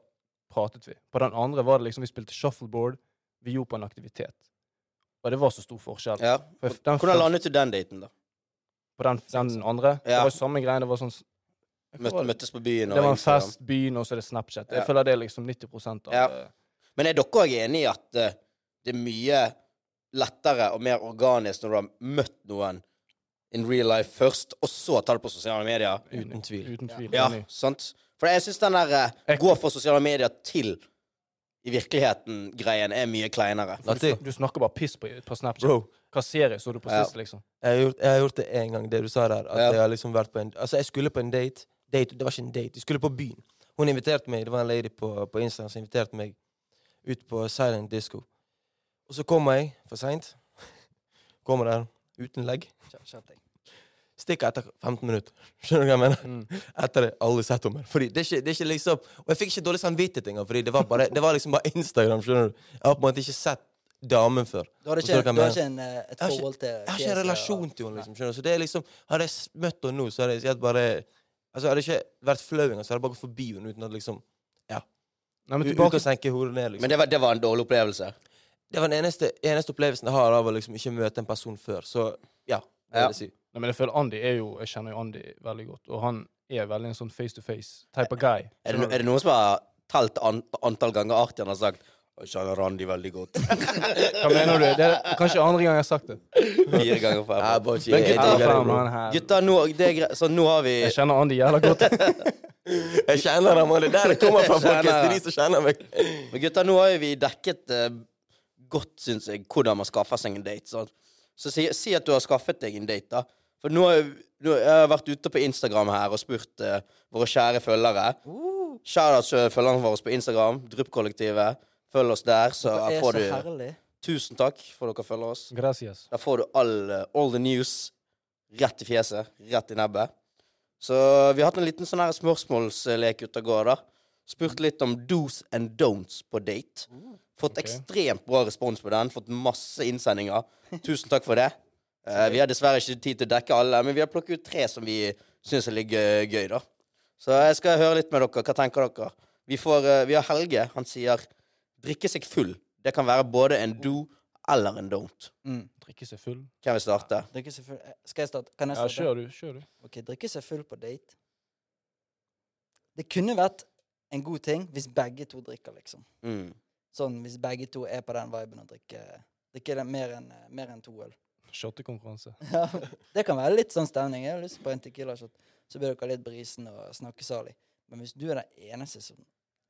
Speaker 3: pratet vi. På den andre var det liksom vi spilte shuffleboard, vi gjorde på en aktivitet. Og det var så stor forskjell.
Speaker 1: Ja.
Speaker 3: For den
Speaker 1: Hvordan
Speaker 3: første,
Speaker 1: landet du den daten, da?
Speaker 3: på den, den andre Det
Speaker 1: Ja.
Speaker 3: var jo samme greie. Det var sånn s- Hva
Speaker 1: Møt,
Speaker 3: var det?
Speaker 1: møttes på byen? og
Speaker 3: det var en
Speaker 1: Instagram.
Speaker 3: fest, byen, og så er det Snapchat. Jeg
Speaker 1: Ja.
Speaker 3: føler det er liksom 90 av
Speaker 1: Ja.
Speaker 3: eh,
Speaker 1: Men er dere òg enige i at eh, det er mye lettere og mer organisk når du har møtt noen in real life først, og så ta det på sosiale medier?
Speaker 2: Uten tvil.
Speaker 3: Uten tvil.
Speaker 1: Ja,
Speaker 3: enig.
Speaker 1: sant? For jeg syns den der eh,
Speaker 3: Ekko.
Speaker 1: gå fra sosiale medier til i virkeligheten-greien er mye kleinere.
Speaker 3: For Du,
Speaker 2: Latte.
Speaker 3: snak- du snakker bare piss på, på Snapchat.
Speaker 2: Bro,
Speaker 3: Hva serie så du på
Speaker 1: Ja.
Speaker 3: sist, liksom?
Speaker 2: jeg har, gjort, jeg har gjort det én gang, det du sa der. At
Speaker 1: Ja.
Speaker 2: jeg har liksom vært på en Altså, jeg skulle på en date. date. Det var ikke en date. Jeg skulle på byen. Hun inviterte meg. Det var en lady på, på Instagram som inviterte meg ut på silent disco. Og så kommer jeg for seint. [laughs] Kommer der uten legg.
Speaker 4: Kjapt, kjapt, jeg.
Speaker 2: Stikker etter 15 minutter. [laughs] Skjønner du hva jeg mener?
Speaker 3: Mm.
Speaker 2: [laughs] Etter det, alle sett om her. Fordi det er ikke, det er ikke liksom Og jeg fikk ikke dårlig samvittighet engang, fordi det var, bare, det var liksom bare Instagram. skjønner du Jeg har på en måte ikke sett damen før.
Speaker 4: Du hadde
Speaker 2: Forstår
Speaker 4: ikke,
Speaker 2: du hva jeg
Speaker 4: du hadde
Speaker 2: mener?
Speaker 4: ikke en, eh, et
Speaker 2: har ikke-
Speaker 4: forhold til
Speaker 2: Jeg har ikke en relasjon til henne. liksom, skjønner du? Så det er liksom, Hadde jeg s- møtt henne nå, så hadde jeg sikkert bare Altså, hadde jeg ikke vært flau engang, så hadde jeg bare gått forbi henne uten at liksom
Speaker 3: Nei, men
Speaker 2: u-
Speaker 3: tilbake
Speaker 2: Uten å senke hodet ned, liksom.
Speaker 1: Men det var, det var en dårlig opplevelse.
Speaker 2: Det var den eneste, eneste opplevelsen jeg har av å liksom ikke møte en person før. Så ja, det
Speaker 1: Ja.
Speaker 2: vil jeg si.
Speaker 3: Nei, men jeg føler Andy er jo Jeg kjenner jo Andy veldig godt, og han er veldig en sånn face to face type av guy.
Speaker 1: Er det, no- er det noen som har telt an, antall ganger artig han har sagt «Jeg kjenner Randi veldig
Speaker 3: [laughs]
Speaker 1: godt.
Speaker 3: Hva mener du? Det er kanskje andre gang jeg har
Speaker 2: [laughs]
Speaker 3: sagt det.
Speaker 1: Fire ganger fem.
Speaker 2: Ja, bare ikke-
Speaker 1: Men
Speaker 2: jeg digger
Speaker 1: gutta,
Speaker 2: det,
Speaker 3: faen,
Speaker 2: bro.
Speaker 3: han her.
Speaker 1: gutta nå, det er greit. Så nå har vi
Speaker 3: Jeg kjenner Andy jævla godt.
Speaker 2: [laughs] Jeg kjenner ham, og det er der det kommer fra,
Speaker 1: Kjenner
Speaker 2: folkens. Det er de som kjenner meg.
Speaker 1: Men gutta, nå har jo vi dekket eh, godt, syns jeg, hvordan man skaffer seg en date. sant? Så si, si at du har skaffet deg en date, da. For nå har jeg, nå, jeg har vært ute på Instagram her og spurt eh, våre kjære følgere.
Speaker 4: Uh.
Speaker 1: Kjære til følgerne våre på Instagram, Dryppkollektivet. Følg oss der, så
Speaker 4: Det er
Speaker 1: får
Speaker 4: så
Speaker 1: du
Speaker 4: herlig.
Speaker 1: Tusen takk for dere følger oss.
Speaker 3: Gracias.
Speaker 1: Der får du all, eh, all the news rett i fjeset, rett i nebbet. Så vi har hatt en liten sånn her spørsmålslek ute og går, da. Spurt litt om do's and don'ts på date. Fått
Speaker 3: ok.
Speaker 1: ekstremt bra respons på den. Fått masse innsendinger. Tusen takk for det. Eh, vi har dessverre ikke tid til å dekke alle, men vi har plukket ut tre som vi syns er litt gøy, gøy, da. Så jeg skal høre litt med dere. Hva tenker dere? Vi, får, eh, vi har Helge. Han sier 'drikke seg full'. Det kan være både en do eller en don't.
Speaker 4: Mm.
Speaker 3: Drikke seg full.
Speaker 1: Hvem vil starte?
Speaker 4: Drikke seg full eh, Skal jeg starte? Kan jeg
Speaker 3: Ja,
Speaker 4: starte?
Speaker 3: kjør du. Kjør du.
Speaker 4: Ok, drikke seg full på date. Det kunne vært en god ting hvis begge to drikker, liksom.
Speaker 1: Mm.
Speaker 4: Sånn hvis begge to er på den viben og drikker Drikker det mer enn eh, mer enn to øl.
Speaker 3: Shottekonkurranse.
Speaker 4: Ja, det kan være litt sånn stemning. Jeg har lyst på en tequila-shot. Så blir dere litt brisen og snakkesalig. Men hvis du er den eneste som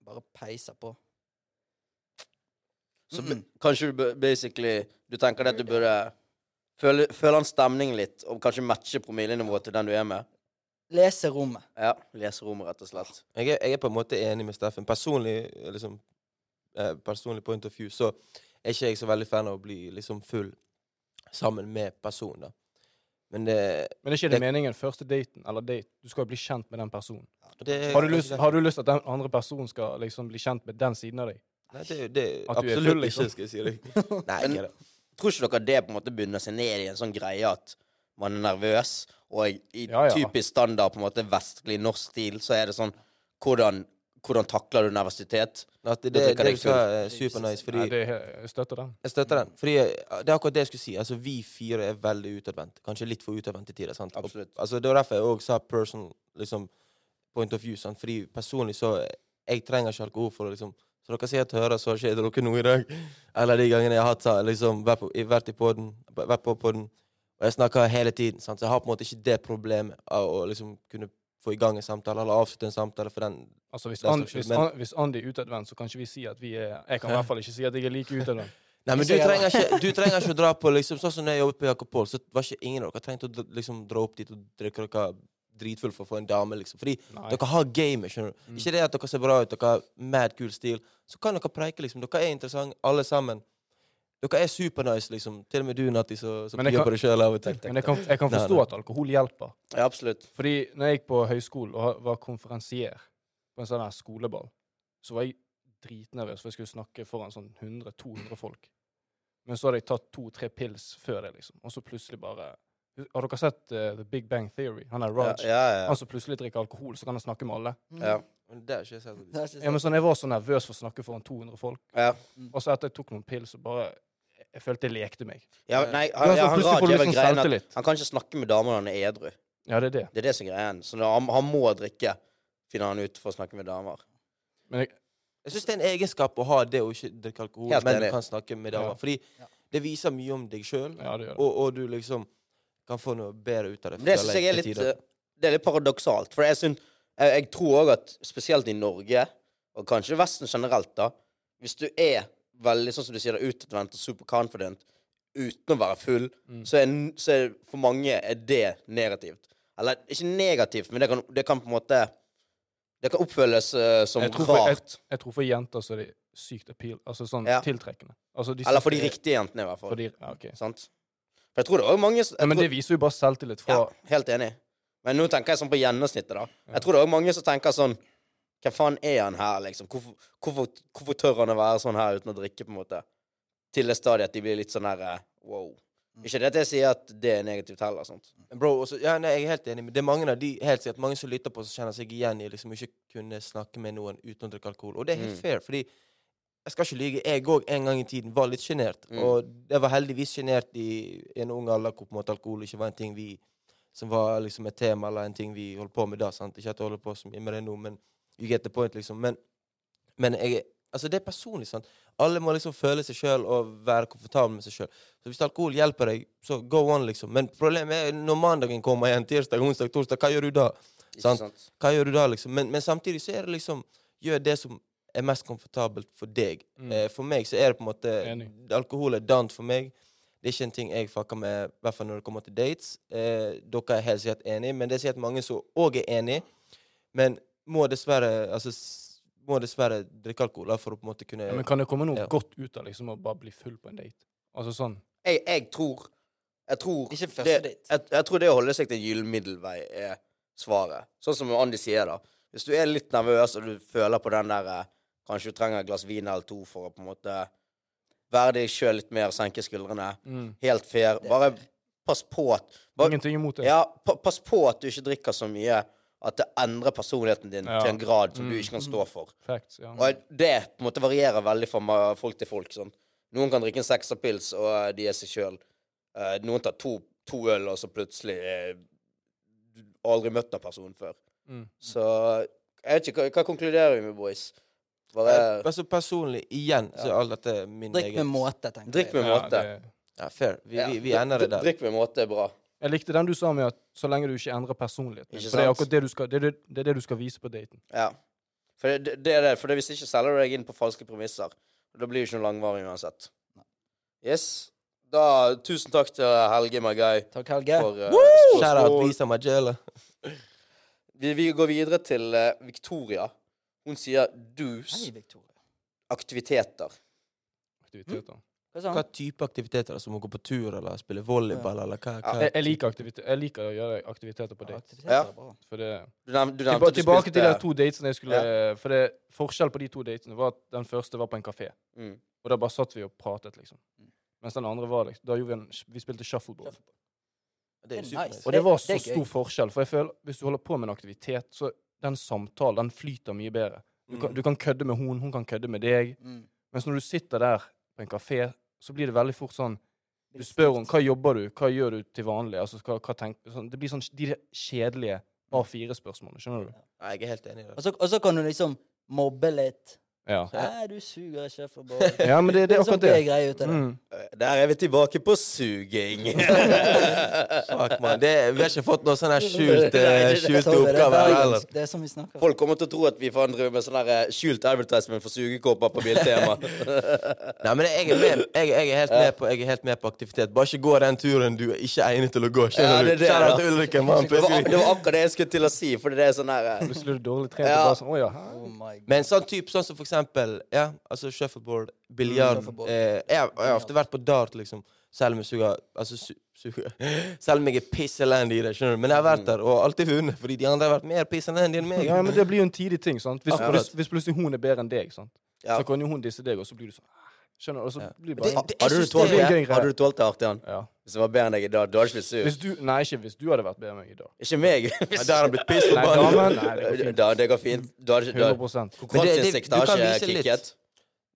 Speaker 4: bare peiser på
Speaker 1: Så
Speaker 4: Mm.
Speaker 1: b- kanskje du bør- basically Du tenker at du burde føle, føle an stemningen litt, og kanskje matche promillenivået til den du er med?
Speaker 4: Lese rommet.
Speaker 1: Ja. Lese rommet, rett og slett.
Speaker 2: Jeg er, jeg er på en måte enig med Steffen. Personlig liksom, eh, personlig point of view så er ikke jeg så veldig fan av å bli liksom full sammen med personen. da. Men det,
Speaker 3: Men det er ikke det
Speaker 2: Det-
Speaker 3: meningen. Første daten eller date, du skal jo bli kjent med den personen.
Speaker 2: det
Speaker 3: Har du lyst, har du lyst at den andre personen skal liksom bli kjent med den siden av deg?
Speaker 2: Nei, det, det
Speaker 3: At du er
Speaker 2: absolutt
Speaker 3: full, liksom?
Speaker 2: ikke, skal jeg si
Speaker 3: [laughs]
Speaker 2: deg. Nei,
Speaker 1: Men-
Speaker 2: ikke det.
Speaker 1: Tror ikke dere det på en måte begynner seg ned i en sånn greie at man er nervøs, og i
Speaker 3: Ja, ja.
Speaker 1: typisk standard på en måte vestlig norsk stil, så er det sånn Hvordan, hvordan takler du nervøsitet?
Speaker 2: At det,
Speaker 1: Da
Speaker 2: det,
Speaker 1: drikker
Speaker 2: det
Speaker 1: jeg
Speaker 2: du sa, er supernice. Fordi
Speaker 3: Nei, det er, jeg støtter den.
Speaker 2: Jeg støtter den. Fordi eh, Det er akkurat det jeg skulle si. Altså, Vi fire er veldig utadvendt. Kanskje litt for utadvendt til tider. sant? Og-
Speaker 1: Absolutt.
Speaker 2: Altså, det var derfor jeg òg sa personal liksom, point of view. sant? Fordi personlig så eh, Jeg trenger ikke alkohol for å liksom Så dere sikkert hører så har ikke jeg drukket noe i dag. Eller de gangene jeg har hatt, så har jeg liksom, vært, på, i- vært, i podden, vært på podden, og jeg snakker hele tiden. Sant? Så jeg har på en måte ikke det problemet av å liksom kunne få i gang en samtale, eller avslutte en samtale, for den
Speaker 3: Altså, hvis,
Speaker 2: Det er
Speaker 3: An,
Speaker 2: stort sett,
Speaker 3: hvis,
Speaker 2: men-
Speaker 3: An, hvis Andy er utadvendt, så kan ikke vi si at vi er Jeg kan i
Speaker 2: Hæ?
Speaker 3: hvert fall ikke si at jeg er like
Speaker 2: [laughs]
Speaker 3: utadvendt.
Speaker 2: Nei, men
Speaker 4: Jeg
Speaker 2: du
Speaker 4: ser det.
Speaker 2: trenger, ikke, du trenger ikke å dra på liksom, Sånn som når jeg jobbet på Jakob Paul, så var ikke ingen av dere trengt å dra- liksom, dra opp dit og drikke dere dritfull for å få en dame, liksom. Fordi
Speaker 3: Nei.
Speaker 2: dere har gamet, skjønner du.
Speaker 3: Mm.
Speaker 2: Ikke det at dere ser bra ut, dere har mad kul stil. Så kan dere preike, liksom. Dere er interessante, alle sammen. Dere er supernice, liksom. Til og med du, Natti, som som
Speaker 3: Men jeg
Speaker 2: gjør
Speaker 3: kan-
Speaker 2: på deg sjøl av og til.
Speaker 3: Men jeg kan, jeg kan
Speaker 2: Nei,
Speaker 3: forstå
Speaker 2: nei.
Speaker 3: at alkohol hjelper.
Speaker 1: Ja, absolutt.
Speaker 3: Fordi når jeg gikk på høyskolen og var konferansier på en sånn her skoleball, så var jeg dritnervøs, for jeg skulle snakke foran sånn 100-200 folk. Men så hadde jeg tatt to-tre pils før det, liksom. Og så plutselig bare Har dere sett eh, The Big Bang Theory? Han er
Speaker 1: Ja,
Speaker 3: Raj.
Speaker 1: ja, ja.
Speaker 3: Han som plutselig drikker alkohol, så kan han snakke med alle.
Speaker 1: Ja.
Speaker 2: Men Det er ikke jeg selv.
Speaker 4: Det er ikke
Speaker 3: Ja, men sånn, Jeg var så nervøs for å snakke foran 200 folk.
Speaker 1: ja.
Speaker 3: Og så etter jeg tok noen pils, så bare jeg- Jeg følte jeg lekte meg.
Speaker 1: ja nei,
Speaker 3: Ja,
Speaker 1: han,
Speaker 3: så
Speaker 1: ja, han
Speaker 3: plutselig får
Speaker 1: Raj
Speaker 3: Eh, du
Speaker 1: er vel
Speaker 3: liksom
Speaker 1: greien at
Speaker 3: selvtillit.
Speaker 1: han kan ikke snakke med damer når han er edru.
Speaker 3: Ja, det er det.
Speaker 1: Det er det som er greien. Så når han, han må drikke, finner han ut for å snakke med damer.
Speaker 3: Men jeg,
Speaker 2: Jeg syns det er en egenskap å ha det å ikke drikke alkohol,
Speaker 1: Helt
Speaker 2: men du
Speaker 1: enig.
Speaker 2: kan snakke med
Speaker 3: Ja.
Speaker 2: damer. Fordi
Speaker 4: Ja.
Speaker 2: det viser mye om deg sjøl,
Speaker 3: ja, det gjør det.
Speaker 2: og, og du liksom kan få noe bedre ut av det.
Speaker 1: Men det
Speaker 2: føler
Speaker 1: synes jeg er
Speaker 2: til
Speaker 1: litt,
Speaker 2: tider.
Speaker 1: eh, det er litt paradoksalt. For jeg, synes, jeg, jeg tror òg at spesielt i Norge, og kanskje Vesten generelt, da Hvis du er veldig sånn som du sier, da, utadvendt og superconfident uten å være full,
Speaker 3: Mm.
Speaker 1: så, er, n- så er for mange er det negativt. Eller ikke negativt, men det kan, det kan på en måte Det kan oppføles eh, som
Speaker 3: Jeg tror for, jeg,
Speaker 1: rart.
Speaker 3: jeg tror for jenter så er det sykt appeal, altså sånn
Speaker 1: Ja.
Speaker 3: tiltrekkende. Altså, de
Speaker 1: Eller for de
Speaker 3: synes det er-
Speaker 1: riktige jentene, i hvert fall.
Speaker 3: for de- ja, ok.
Speaker 1: Sant? For jeg tror det er også mange s- jeg
Speaker 3: Ja, men
Speaker 1: tror-
Speaker 3: det viser jo bare selvtillit fra
Speaker 1: Ja, helt enig. Men nå tenker jeg sånn på gjennomsnittet, da. Jeg tror det er også mange som tenker sånn Hva faen er han her, liksom? Hvorfor, hvorfor, hvorfor tør han å være sånn her uten å drikke, på en måte? Til det stadiet at de blir litt sånn her eh, wow. Ikke det at jeg sier at det er negativt heller, sant?
Speaker 2: Bro, også, ja, nei, jeg er helt enig, men det er mange av de helt sikkert, mange som lytter på, som kjenner seg igjen i liksom ikke kunne snakke med noen uten å drikke alkohol. Og det er helt
Speaker 1: Mm.
Speaker 2: fair, fordi jeg skal ikke lyge, jeg òg en gang i tiden var litt sjenert.
Speaker 1: Mm.
Speaker 2: Og jeg var heldigvis sjenert i en ung alder hvor på en måte alkohol ikke var en ting vi som var liksom et tema eller en ting vi holdt på med da. sant? Ikke at jeg holder på så mye med det nå, men you get the point, liksom. Men, men jeg, altså det er personlig. sant? Alle må liksom føle seg sjøl og være komfortable med seg sjøl. Så hvis alkohol hjelper deg, så go on, liksom. Men problemet er når mandagen kommer igjen, tirsdag, onsdag, torsdag, hva gjør du da?
Speaker 1: Ikke
Speaker 2: Sant.
Speaker 1: sant?
Speaker 2: Hva gjør du da, liksom? Men, men samtidig så er det liksom Gjør det som er mest komfortabelt for deg.
Speaker 3: Mm.
Speaker 2: Eh, for meg så er det på en måte
Speaker 3: Enig.
Speaker 2: Alkohol er dant for meg. Det er ikke en ting jeg fucker med, i hvert fall når det kommer til dates. Eh, dere er helt sikkert enige, men det er sikkert mange som òg er enige. Men må dessverre altså, s- må dessverre drikke alkohol da, for å på en måte kunne
Speaker 3: ja, Men kan det komme noe
Speaker 2: Ja.
Speaker 3: godt ut av liksom å bare bli full på en date? Altså sånn
Speaker 1: Jeg, jeg tror Jeg tror
Speaker 4: Ikke første
Speaker 1: det,
Speaker 4: date.
Speaker 1: jeg, jeg tror det å holde seg til en gyllen middelvei er svaret. Sånn som Andy sier, da. Hvis du er litt nervøs og du føler på den der eh, Kanskje du trenger et glass vin eller to for å på en måte være deg sjøl litt mer, senke skuldrene. Helt fair. Bare pass på at bare,
Speaker 3: Ingenting imot det.
Speaker 1: Ja, pa, pass på at du ikke drikker så mye at det endrer personligheten din
Speaker 3: Ja.
Speaker 1: til en grad som du
Speaker 3: Mm.
Speaker 1: ikke kan stå for.
Speaker 3: Facts. Ja.
Speaker 1: Og det på en måte varierer veldig fra ma- folk til folk. Sånn. Noen kan drikke en sekserpils, og eh, de er seg sjøl. Noen tar to, to øl, og så plutselig eh, du har Aldri møtt den personen før.
Speaker 3: Mm.
Speaker 1: Så jeg vet ikke, hva, hva konkluderer vi med, boys?
Speaker 2: Eh,
Speaker 1: Bare
Speaker 2: altså Personlig, igjen, så er alt dette min
Speaker 4: Drikk med
Speaker 2: egen
Speaker 4: måte, tenker
Speaker 1: Drikk
Speaker 4: jeg.
Speaker 1: med måte.
Speaker 3: det-
Speaker 2: Ja, fair. Vi,
Speaker 1: Ja,
Speaker 2: vi, vi ender det
Speaker 1: dri-
Speaker 2: der.
Speaker 1: Drikk med måte er bra.
Speaker 3: Jeg likte den du sa med at så lenge du ikke endrer personligheten.
Speaker 1: Ikke
Speaker 3: din, For det er
Speaker 1: sant?
Speaker 3: akkurat det du skal, det er det, det er det du skal vise på daten.
Speaker 1: Ja. For det, det- det er det. For det, hvis ikke selger du deg inn på falske premisser, da blir det ikke noe langvarig uansett. Yes. Da, tusen takk til Helge, my guy,
Speaker 4: Takk, Helge.
Speaker 1: for eh,
Speaker 2: Shout out
Speaker 1: spørsmål.
Speaker 2: Lisa Magella.
Speaker 1: Vi, vi går videre til eh, Victoria. Hun sier dus
Speaker 4: Hei, Victoria.
Speaker 1: aktiviteter. Mm.
Speaker 3: Aktiviteter.
Speaker 4: Hva sa
Speaker 2: Hva
Speaker 4: han?
Speaker 2: type aktiviteter? er det, Som å gå på tur, eller spille volleyball, eller hva? hva?
Speaker 3: Jeg, jeg, liker aktivite- jeg liker å gjøre aktiviteter på date.
Speaker 4: Aktiviteter er bra.
Speaker 3: For det
Speaker 1: Du nevnte, du nevnte
Speaker 3: Tilba
Speaker 1: at du
Speaker 3: tilbake til de
Speaker 1: spilte-
Speaker 3: to datene jeg skulle For det forskjell på de to datene var at den første var på en kafé.
Speaker 1: Mm.
Speaker 3: Og da bare satt vi og pratet, liksom.
Speaker 4: Mm.
Speaker 3: Mens den andre var liksom Da gjorde vi en Vi spilte shuffleboard.
Speaker 2: Det er
Speaker 4: Det er
Speaker 2: supert.
Speaker 4: nice.
Speaker 3: Og det var
Speaker 4: det
Speaker 3: så
Speaker 4: er gøy.
Speaker 3: stor forskjell, for jeg føler hvis du holder på med en aktivitet, så den samtalen, den flyter mye bedre. Du kan,
Speaker 2: Mm.
Speaker 3: du kan kødde med hun, hun kan kødde med deg.
Speaker 4: Mm.
Speaker 3: Mens når du sitter der på en kafé, så blir det veldig fort sånn Du spør henne hva jobber du hva gjør du til vanlig. Altså, hva, hva tenk, sånn, det blir sånn de kjedelige A4-spørsmålene, skjønner du?
Speaker 1: Altså,
Speaker 2: Nei, jeg er helt enig i det.
Speaker 4: Og så, og så kan du liksom mobbe litt.
Speaker 3: Ja.
Speaker 4: Nei, du suger ikke for bare Det
Speaker 3: ja, men det, det
Speaker 4: er
Speaker 3: er
Speaker 4: sånn
Speaker 3: akkurat det.
Speaker 4: det greier ut av det.
Speaker 3: Mm.
Speaker 1: Der er vi tilbake på suging.
Speaker 2: [laughs] Fuck, man. Det, vi har ikke fått noe sånn her
Speaker 1: [laughs]
Speaker 2: skjult,
Speaker 1: Nei,
Speaker 2: eh,
Speaker 1: det-
Speaker 2: skjult
Speaker 4: Tove, det er
Speaker 2: oppgave her heller.
Speaker 4: bergensk. Det er sånn vi snakker.
Speaker 1: Folk kommer til å tro at vi faen driver med sånn der eh, skjult advertisement for sugekopper på [laughs] Biltema.
Speaker 2: Nei, men jeg er, med, jeg, jeg, er helt med på, jeg er helt med på aktivitet. Bare ikke gå den turen du ikke er egnet til å gå.
Speaker 1: Ja, det er
Speaker 2: Skjønner du?
Speaker 1: det,
Speaker 2: Kjære
Speaker 1: da.
Speaker 2: til Ulrikke, mann.
Speaker 1: Det var, ak- det var akkurat det jeg skulle til å si, for det er sånn der eh,
Speaker 3: Plutselig er du dårlig trent.
Speaker 1: Ja.
Speaker 3: og Bare sånn, å ja. hæ?
Speaker 4: Oh my god.
Speaker 2: Men sånn type, sånn som for eksempel ja, altså shuffleboard, biljard
Speaker 3: Mm,
Speaker 4: Shuffleboard.
Speaker 2: eh, jeg, har- jeg har ofte vært på dart, liksom. Selv om jeg suger Altså, su, suger [laughs] Selv om jeg er piss elendig i det, skjønner du. Men jeg har vært der og alltid vunnet, fordi de andre har vært mer piss elendig enn meg.
Speaker 3: Mm. ja,
Speaker 2: [laughs]
Speaker 3: men det blir jo en tidig ting. sant? Hvis,
Speaker 2: Akkurat.
Speaker 3: hvis, hvis plutselig hun er bedre enn deg, sant?
Speaker 1: Ja.
Speaker 3: så kan jo hun disse deg, og så blir du sånn ah, Skjønner du? Og så
Speaker 2: Ja.
Speaker 3: blir det
Speaker 2: Det-
Speaker 3: bare
Speaker 2: det- jeg
Speaker 1: Hadde du
Speaker 2: synes
Speaker 1: tålt
Speaker 2: det er-
Speaker 1: det?
Speaker 3: gøy greie.
Speaker 1: Hadde du tålt det, Artian?
Speaker 3: ja.
Speaker 1: Hvis jeg var bedre enn deg i dag, da hadde du ikke blitt sur.
Speaker 3: Hvis du, Nei, ikke hvis du hadde vært bedre enn meg i dag.
Speaker 1: Ikke meg.
Speaker 2: Ja, der har han
Speaker 1: [laughs]
Speaker 2: blitt piss på
Speaker 3: Nei,
Speaker 2: banen.
Speaker 3: damen nei, det går fint.
Speaker 1: Da, det går fint. Da hadde ikke
Speaker 3: 100
Speaker 2: Men det- det-
Speaker 1: Konkurranseinstinktet
Speaker 2: du kan
Speaker 1: har ikke
Speaker 2: vise litt.
Speaker 1: kicket.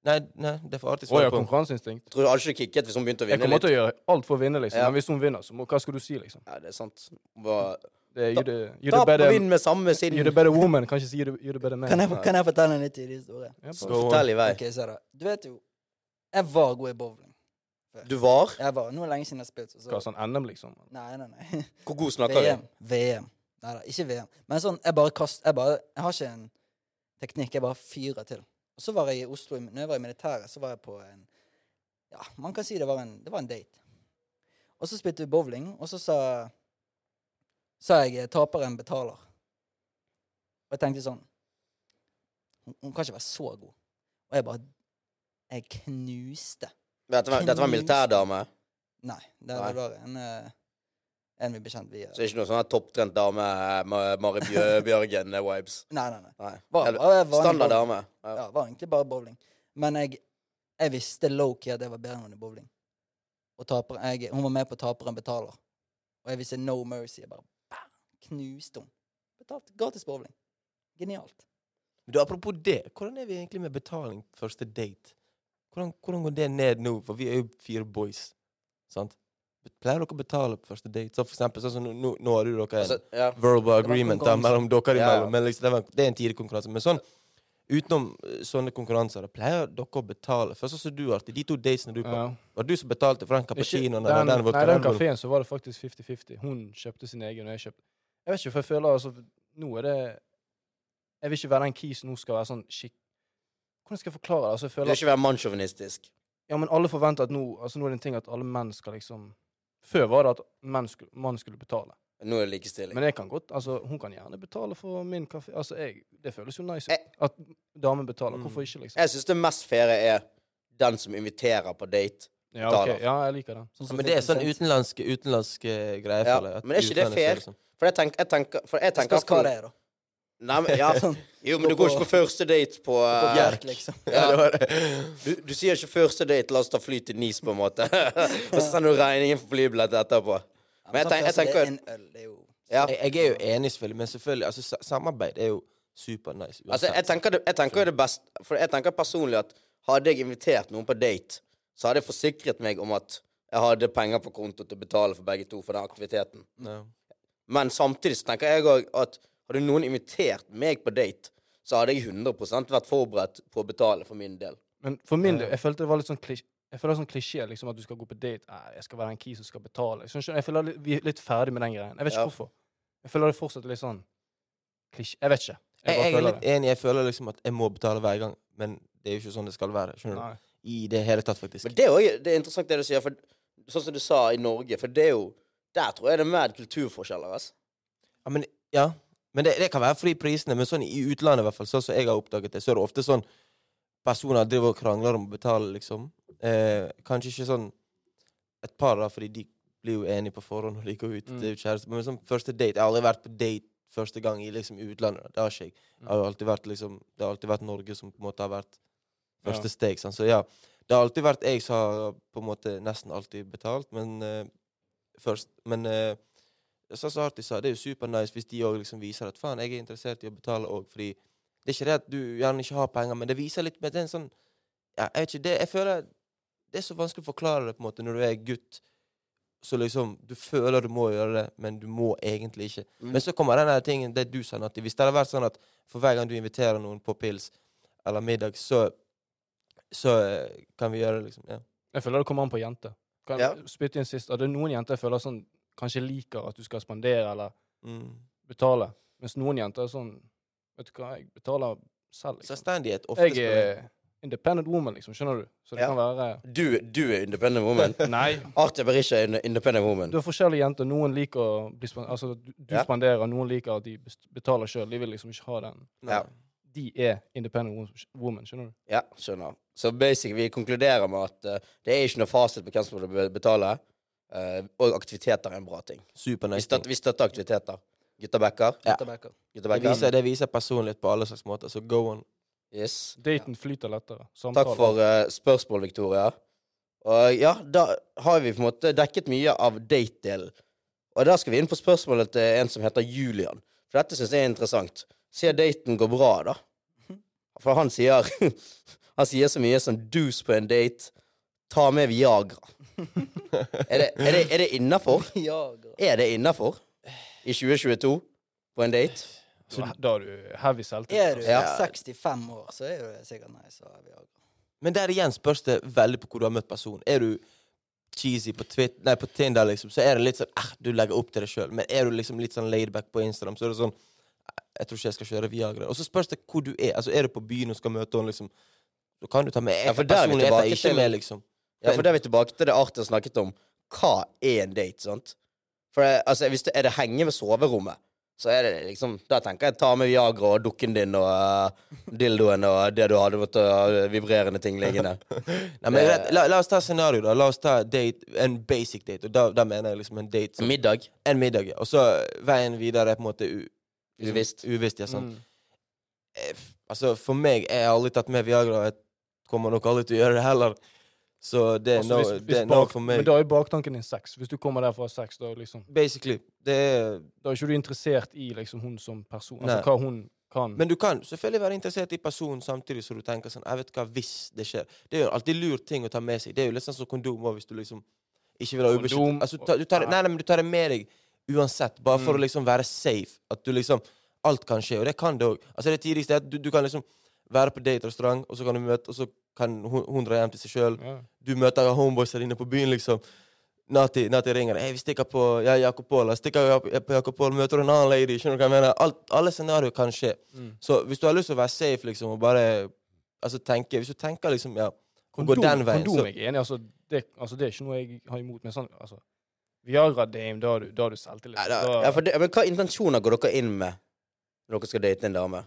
Speaker 2: Nei, nei, det er for
Speaker 3: Å
Speaker 2: artig
Speaker 3: ja,
Speaker 2: svar på.
Speaker 3: konkurranseinstinkt.
Speaker 1: Jeg tror jeg hadde ikke kicket hvis hun begynte å
Speaker 3: Jeg
Speaker 1: vinne
Speaker 3: kommer
Speaker 1: litt.
Speaker 3: til å gjøre alt for å vinne, liksom.
Speaker 1: Ja.
Speaker 3: Men hvis hun vinner, så må, hva skal du si, liksom?
Speaker 1: Ja, det er sant. Bare-
Speaker 3: Det
Speaker 1: Da-
Speaker 3: er, you the, you the
Speaker 1: Tap og
Speaker 3: better,
Speaker 1: vinn med samme sinn.
Speaker 3: you the better woman. Kan ikke si you the, you the better man.
Speaker 4: Kan jeg, kan jeg fortelle en litt tidlig historie?
Speaker 3: Ja,
Speaker 2: Go
Speaker 3: bare-
Speaker 2: on.
Speaker 1: Fortell i vei.
Speaker 4: Ok, se da. Du vet jo, jeg var god i bowling.
Speaker 1: Du var?
Speaker 4: Jeg var, Nå er det lenge siden jeg har spilt. så-
Speaker 3: Hva, sånn NM, liksom?
Speaker 4: Nei, nei, [laughs] nei.
Speaker 1: Hvor god snakker du?
Speaker 4: VM. VM. Nei da, ikke VM. Men sånn, jeg bare kast... Jeg, bare, jeg har ikke en teknikk, jeg bare fyrer til. Og så var jeg i Oslo, i- når jeg var i militæret, så var jeg på en Ja, man kan si det var en, det var en date. Og så spilte vi bowling, og så sa sa jeg eh, 'taperen betaler'. Og jeg tenkte sånn Hun, hun kan ikke være så god. Og jeg bare Jeg knuste
Speaker 1: Dette var, dette var en militærdame.
Speaker 4: Nei, det
Speaker 1: Nei.
Speaker 4: var en, eh, en vi bekjent via.
Speaker 1: Så det er ikke noe sånn her topptrent dame, eh, Ma- Mari
Speaker 4: [laughs]
Speaker 1: Bjø- Bjørgen-vibes.
Speaker 4: Nei, nei, nei.
Speaker 1: Nei.
Speaker 4: Bare,
Speaker 1: Eller,
Speaker 4: bare vanlig
Speaker 1: Standard
Speaker 4: bowling.
Speaker 1: dame. Ja.
Speaker 4: Ja, var egentlig bare bowling. Men jeg, jeg visste low-key at jeg var bedre enn hun i bowling. Og taperen, jeg, hun var med på 'Taperen betaler'. Og jeg visste no mercy. Jeg bare bang, knuste henne. Betalt. Gratis bowling. Genialt.
Speaker 2: Men Du, apropos det, hvordan er vi egentlig med betaling på første date? Hvordan, hvordan går det ned nå? For vi er jo fire boys. Sant? Pleier dere å betale på første date? Så for eksempel, sånn som nå- nå, nå har du dere en
Speaker 1: Altså, ja.
Speaker 2: verbal
Speaker 4: Det var
Speaker 2: agreement da,
Speaker 4: konkurranse.
Speaker 2: mellom
Speaker 1: Ja,
Speaker 2: dere
Speaker 1: ja.
Speaker 2: imellom. Men liksom, det, var, det er en tidlig konkurranse. Men sånn, utenom eh, sånne konkurranser, da pleier dere å betale. Først som du alltid, de to datene du på.
Speaker 3: Ja.
Speaker 2: Var det du som betalte for den
Speaker 3: Ikke-
Speaker 2: cappuccinoen eller
Speaker 3: den,
Speaker 2: den,
Speaker 3: nei, den
Speaker 2: vodkaen?
Speaker 3: kafeen så var det faktisk 50-50. Hun kjøpte sin egen, og jeg kjøpte Jeg vet ikke, for jeg føler altså Nå er det Jeg vil ikke være den kisen hun skal være sånn skikk... Hvordan skal jeg forklare det? Altså, jeg
Speaker 1: Du
Speaker 3: føler
Speaker 1: vil ikke være mannssjåvinistisk.
Speaker 3: Ja, men alle forventer at nå Altså, nå er det en ting at alle menn skal liksom Før var det at menn skulle, mann skulle betale.
Speaker 1: Nå er det likestilling.
Speaker 3: Men jeg kan godt Altså, hun kan gjerne betale for min kaffe. Altså, jeg Det føles jo nice
Speaker 1: Jeg-
Speaker 3: ut. At damen betaler. Hvorfor
Speaker 2: Mm.
Speaker 3: ikke, liksom?
Speaker 1: Jeg syns det mest faire er den som inviterer på date.
Speaker 3: Ja, ok.
Speaker 1: betaler.
Speaker 3: Ja, jeg liker den.
Speaker 4: Sånn
Speaker 2: Ja,
Speaker 4: som
Speaker 2: men det er
Speaker 4: 50
Speaker 2: sånn
Speaker 4: Cent.
Speaker 2: utenlandske, utenlandske greier.
Speaker 1: Ja,
Speaker 2: føler jeg, at
Speaker 1: men er ikke det
Speaker 2: utlendinger ser
Speaker 1: fair?
Speaker 2: som-
Speaker 1: For jeg tenker, jeg tenker, for jeg
Speaker 4: Jeg
Speaker 1: tenker
Speaker 4: Spørs hva det er, da.
Speaker 1: Nei, men,
Speaker 4: [laughs]
Speaker 1: ja.
Speaker 4: Sånn,
Speaker 1: Jo, men du går ikke på første date på
Speaker 4: på
Speaker 1: eh,
Speaker 4: bjerk, liksom.
Speaker 1: [laughs]
Speaker 2: Ja, det var det.
Speaker 1: du, du sier ikke første date, la oss ta fly til Nis, på en måte. [laughs] Og så sender du regningen for flybillett etterpå.
Speaker 4: Ja,
Speaker 1: Men jeg tenk- jeg
Speaker 4: samtidig,
Speaker 1: tenker-
Speaker 4: Sånn det er en øl, det er jo
Speaker 1: Ja.
Speaker 2: Jeg, jeg er jo enig, selvfølgelig, men selvfølgelig, altså, sa- samarbeid er jo supernice.
Speaker 1: Altså, jeg tenker, det, jeg tenker jo det best For jeg tenker personlig at hadde jeg invitert noen på date, så hadde jeg forsikret meg om at jeg hadde penger på konto til å betale for begge to for den aktiviteten.
Speaker 2: Ja.
Speaker 1: Men samtidig så tenker jeg òg at hadde noen invitert meg på date, så hadde jeg 100 vært forberedt på å betale for min del.
Speaker 3: Men for min
Speaker 2: Ja.
Speaker 3: del, jeg følte det var litt sånn klisjé. Jeg føler det er sånn klisjé liksom, at du skal gå på date. Nei, jeg skal være en kis som skal betale. Sånn, skjønner du? jeg føler litt- vi er litt ferdig med den greien. Jeg vet ikke
Speaker 1: Ja.
Speaker 3: hvorfor. Jeg føler det fortsatt er litt sånn klisjé. Jeg vet ikke.
Speaker 2: Jeg,
Speaker 3: bare
Speaker 2: jeg er
Speaker 3: føler
Speaker 2: litt enig. Jeg føler liksom at jeg må betale hver gang, men det er jo ikke sånn det skal være. skjønner du?
Speaker 3: Nei.
Speaker 2: I det hele tatt, faktisk.
Speaker 1: Men det er, også, det er interessant det du sier, for sånn som du sa i Norge, for det er jo Der tror jeg det er mer kulturforskjeller, altså.
Speaker 2: Ja, men, ja. men det, det kan være fordi prisene, men sånn i utlandet, i hvert fall, sånn som jeg har oppdaget det, så er det ofte sånn personer driver og krangler om å betale, liksom. Eh, kanskje ikke sånn et par, da, fordi de blir jo enige på forhånd når de går ut.
Speaker 3: Mm.
Speaker 2: Det er jo kjæreste. Men sånn første date Jeg har aldri vært på date første gang i liksom utlandet. da. Det har ikke jeg. Det har jo alltid vært liksom Det har alltid vært Norge som på en måte har vært første steg. Sant? Så ja. Det har alltid vært jeg som har på en måte nesten alltid betalt, men eh, først Men eh, sånn som Arti sa, det er jo supernice hvis de òg liksom viser at faen, jeg er interessert i å betale òg, fordi det er ikke det at du gjerne ikke har penger, men det viser litt med den sånn ja, Jeg vet ikke, det, jeg føler det er så vanskelig å forklare det på en måte når du er gutt. Så liksom, du føler du må gjøre det, men du må egentlig ikke.
Speaker 1: Mm.
Speaker 2: Men så kommer den her tingen, det du sa, Natti. Hvis det hadde vært sånn at for hver gang du inviterer noen på pils, eller middag, så, så eh, kan vi gjøre det, liksom. Ja.
Speaker 3: Jeg føler det kommer an på jenter. Kan jeg
Speaker 1: Ja.
Speaker 3: spytte inn sist? Er det noen jenter jeg føler sånn kanskje liker at du skal spandere eller
Speaker 2: Mm.
Speaker 3: betale, mens noen jenter er sånn Vet du hva, jeg betaler selv. Liksom.
Speaker 2: Selvstendighet ofte
Speaker 3: Jeg er independent woman, liksom. Skjønner du? Så det
Speaker 1: Ja.
Speaker 3: kan
Speaker 2: [laughs]
Speaker 3: være
Speaker 1: Du, du er independent
Speaker 3: [laughs]
Speaker 1: woman.
Speaker 3: Nei.
Speaker 1: Arthur er ikke en independent woman.
Speaker 3: Du har forskjellige jenter. Noen liker å bli span- altså, du, du
Speaker 1: Ja.
Speaker 3: spanderer, noen liker at de best- betaler sjøl. De vil liksom ikke ha den.
Speaker 1: Ja.
Speaker 3: De er independent wo- woman, skjønner du?
Speaker 1: Ja, skjønner. Så basically, vi konkluderer med at eh, det er ikke noe fasit på hvem som burde be- betale. eh, og aktiviteter er en bra ting. Vi
Speaker 2: Supernøyting.
Speaker 1: støtter, vi støtter aktiviteter. Gutta backer.
Speaker 2: Ja.
Speaker 4: Gutta backer.
Speaker 1: Gutta
Speaker 2: Det
Speaker 1: backer.
Speaker 2: viser, det viser personlighet på alle slags måter, så go on.
Speaker 1: Yes.
Speaker 3: Daten flyter lettere.
Speaker 1: Takk
Speaker 3: Samtaler.
Speaker 1: for eh, spørsmål, Victoria. Og ja, da har vi på en måte dekket mye av date-delen. Og der skal vi inn på spørsmålet til en som heter Julian. For dette syns jeg er interessant. Se daten går bra, da. For han sier [laughs] Han sier så mye som 'dus på en date', 'ta med Viagra'. Er det, er det, er det innafor?
Speaker 4: Jager.
Speaker 1: Er det innafor i 2022 på en date?
Speaker 3: Så da har du heavy
Speaker 4: Er du
Speaker 3: selvtillit.
Speaker 1: Ja.
Speaker 4: 65 år, så er du sikkert nei, så er vi jager.
Speaker 2: Men der igjen spørs det veldig på hvor du har møtt personen. Er du cheesy på, Twit nei, på Tinder, liksom, så er det litt sånn eh, Du legger opp til deg sjøl. Men er du liksom litt sånn laidback på Instagram, så er det sånn eh, Jeg tror ikke jeg skal kjøre Viagra. Og så spørs det hvor du er. Altså, Er du på byen og skal møte henne, liksom, så kan du ta med
Speaker 1: Ja,
Speaker 2: Jeg
Speaker 1: for der er vi
Speaker 2: personlig heter
Speaker 1: tilbake
Speaker 2: ikke
Speaker 1: til-
Speaker 2: med, liksom.
Speaker 1: Ja, for da er vi tilbake til det Arthur snakket om. Hva er en date, sant? For eh, altså, hvis det er det henge ved soverommet, så er det liksom Da tenker jeg ta med Viagra og dukken din og eh, dildoen og det du hadde, vet du, og vibrerende ting liggende.
Speaker 2: [laughs]
Speaker 1: Eh,
Speaker 2: Nei, men rett, la, la oss ta et scenario, da. La oss ta date, en basic date. Og da, da mener jeg liksom en date som
Speaker 1: Middag.
Speaker 2: en middag. ja. Og så veien videre er på en måte u, liksom,
Speaker 1: Uvisst.
Speaker 2: uvisst ja, sant.
Speaker 3: Mm.
Speaker 2: Eh, f- Altså, for meg Jeg har aldri tatt med Viagra, og jeg kommer nok aldri til å gjøre det heller. Så det er
Speaker 3: Altså,
Speaker 2: no,
Speaker 3: hvis-
Speaker 2: det
Speaker 3: hvis
Speaker 2: er no
Speaker 3: bak-
Speaker 2: for
Speaker 3: Men
Speaker 2: meg.
Speaker 3: da er jo baktanken din sex. Hvis du kommer der for å ha sex, da, liksom,
Speaker 2: Basically. Det er,
Speaker 3: da er ikke du interessert i liksom, hun som person.
Speaker 2: Nei.
Speaker 3: Altså hva hun kan.
Speaker 2: men du kan selvfølgelig være interessert i personen samtidig som du tenker sånn Jeg vet hva hvis det skjer. Det er jo alltid lur ting å ta med seg. Det er jo litt sånn som kondom også, hvis du liksom ikke vil ha ubeskyttet
Speaker 3: Kondom,
Speaker 2: altså, ta, du tar,
Speaker 3: og-
Speaker 2: nei, nei, men du tar det med deg uansett, bare for
Speaker 3: Mm.
Speaker 2: å liksom være safe. At du liksom Alt kan skje, og det kan det òg. Altså, det tidligste er at du, du kan liksom være på date-restaurant, og så kan du møte, og så kan hun, hun dra hjem til seg sjøl.
Speaker 3: ja.
Speaker 2: du møter homeboysa dine på byen, liksom. Nati, Nati ringer deg. Hey, 'Vi stikker på ja, Jakob Paul.' Stikker ja, på Jakob Paul, møter du en annen lady. Skjønner du hva jeg mener? Alt, alle scenarioer kan skje.
Speaker 3: Mm.
Speaker 2: Så hvis du har lyst til å være safe, liksom, og bare altså, tenke Hvis du tenker liksom, ja å gå
Speaker 3: Kondom,
Speaker 2: den veien,
Speaker 3: kondom
Speaker 2: så-
Speaker 3: er jeg enig i. Altså, det, altså, det er ikke noe jeg har imot. Men sånn, altså, Viagra Dame, da har du, da har du selvtillit.
Speaker 2: Nei, da-
Speaker 1: Ja, for det, men hva intensjoner går dere inn med når dere skal date en dame?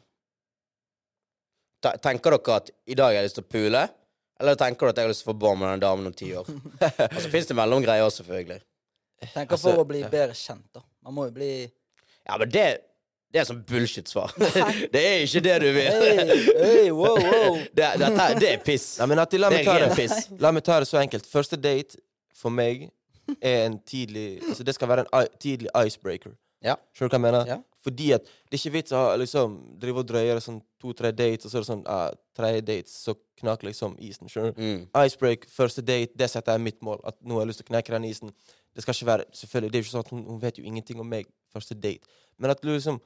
Speaker 1: Ta- Tenker dere at 'i dag har jeg lyst til å pule'? Eller tenker dere at jeg har lyst til å få barn med den damen om
Speaker 2: [laughs]
Speaker 1: ti år? Altså, Fins det mellomgreier også, selvfølgelig?
Speaker 4: Tenker
Speaker 2: Altså,
Speaker 4: for å bli
Speaker 2: ja.
Speaker 4: bedre kjent, da. Man må jo bli
Speaker 1: Ja, men det, det er sånn bullshit-svar. [laughs] det er ikke det du vil.
Speaker 4: Hey, hey,
Speaker 1: [laughs]
Speaker 4: wow, wow.
Speaker 1: det, dette, det er piss.
Speaker 2: Nei, men Nati, la
Speaker 1: Det
Speaker 2: meg
Speaker 1: er
Speaker 2: ta
Speaker 1: ren
Speaker 2: det.
Speaker 1: piss.
Speaker 2: [laughs] La meg ta det så enkelt. Første date for meg er en tidlig Altså, det skal være en i- tidlig icebreaker.
Speaker 1: Ja.
Speaker 2: Skjønner du hva jeg mener?
Speaker 1: Ja.
Speaker 2: Fordi at det er ikke vits å ha, liksom, drive og drøye det sånn to-tre dates, og så er det sånn ah, tre dates, så knakk liksom isen. Skjønner du?
Speaker 1: Mm.
Speaker 2: Icebreak, første date, det setter jeg mitt mål. At nå har jeg lyst til å knekke den isen. Det skal ikke være, selvfølgelig, det er jo ikke sånn at hun, hun vet jo ingenting om meg første date. Men at du liksom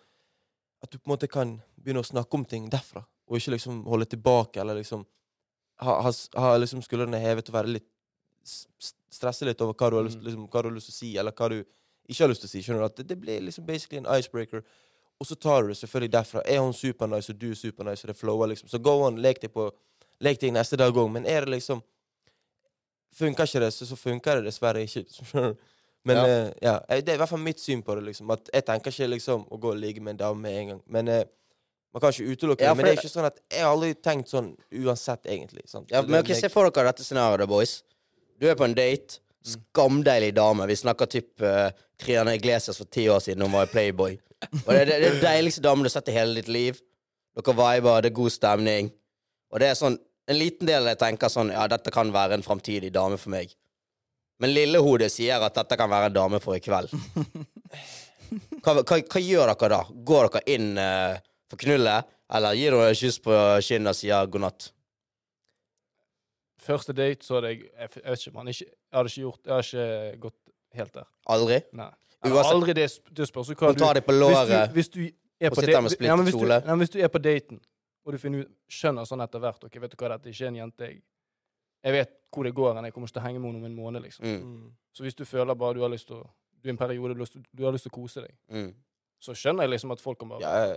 Speaker 2: At du på en måte kan begynne å snakke om ting derfra. Og ikke liksom holde tilbake, eller liksom ha, ha, s- ha liksom skuldrene hevet og være litt s- s- Stresse litt over hva du har lyst,
Speaker 3: Mm.
Speaker 2: liksom, hva du har lyst til å si, eller hva du ikke har lyst til å si. skjønner du, at Det, det blir liksom basically en icebreaker. Og så tar du det selvfølgelig derfra. Er hun supernice, og du er supernice, og det flower, liksom, så go on, lek deg på Lek deg neste dag òg, men er det liksom Funker ikke det, så, så funker det dessverre ikke. [laughs] skjønner du? Men
Speaker 1: Ja.
Speaker 2: eh, ja. eh, det er i hvert fall mitt syn på det. liksom, at Jeg tenker ikke liksom å gå og ligge med en dame med en gang. Men eh, man kan ikke utelukke
Speaker 1: Ja,
Speaker 2: det.
Speaker 1: for
Speaker 2: Men det er ikke sånn at jeg har aldri tenkt sånn uansett, egentlig. sant?
Speaker 1: Ja,
Speaker 2: Så
Speaker 1: men
Speaker 2: det
Speaker 1: ok,
Speaker 2: er
Speaker 1: Se for dere dette scenarioet, boys. Du er på en date. Skamdeilig dame. Vi snakker typ uh, Triana Iglesias for ti år siden hun var i Playboy. Og det, det, det er den deiligste damen du har sett i hele ditt liv. Dere viber, det er god stemning. Og det er sånn En liten del av deg tenker sånn Ja, dette kan være en framtidig dame for meg. Men lillehodet sier at dette kan være en dame for i kveld. Hva, hva, hva gjør dere da? Går dere inn eh, for knullet, eller gir dere et kyss på kinnet og sier god natt?
Speaker 3: Første date, så hadde jeg Jeg, f- jeg vet ikke, man. Ikke, jeg hadde ikke gjort Jeg har ikke eh, gått helt der.
Speaker 1: Aldri?
Speaker 3: Nei.
Speaker 1: Uansett-
Speaker 3: Eller aldri det, sp- det spørs jo hva
Speaker 1: Hun tar deg på låret.
Speaker 3: Hvis du, hvis du er
Speaker 1: og
Speaker 3: på
Speaker 1: sitter
Speaker 3: da-
Speaker 1: med
Speaker 3: ja, men hvis du,
Speaker 1: splittet kjole.
Speaker 3: ja, men hvis du er på daten, Og du finner ut, skjønner sånn etter hvert ok, vet du hva, dette er ikke en jente jeg Jeg vet hvor det går hen. Jeg kommer ikke til å henge med henne om en måned. liksom.
Speaker 1: Mm,
Speaker 2: Mm.
Speaker 3: Så hvis du føler bare du har lyst til å Du er i en periode du har lyst til- du har lyst til å kose deg,
Speaker 2: [laughs]
Speaker 1: mm.
Speaker 3: så skjønner jeg liksom at folk kan bare
Speaker 2: Ja, ja.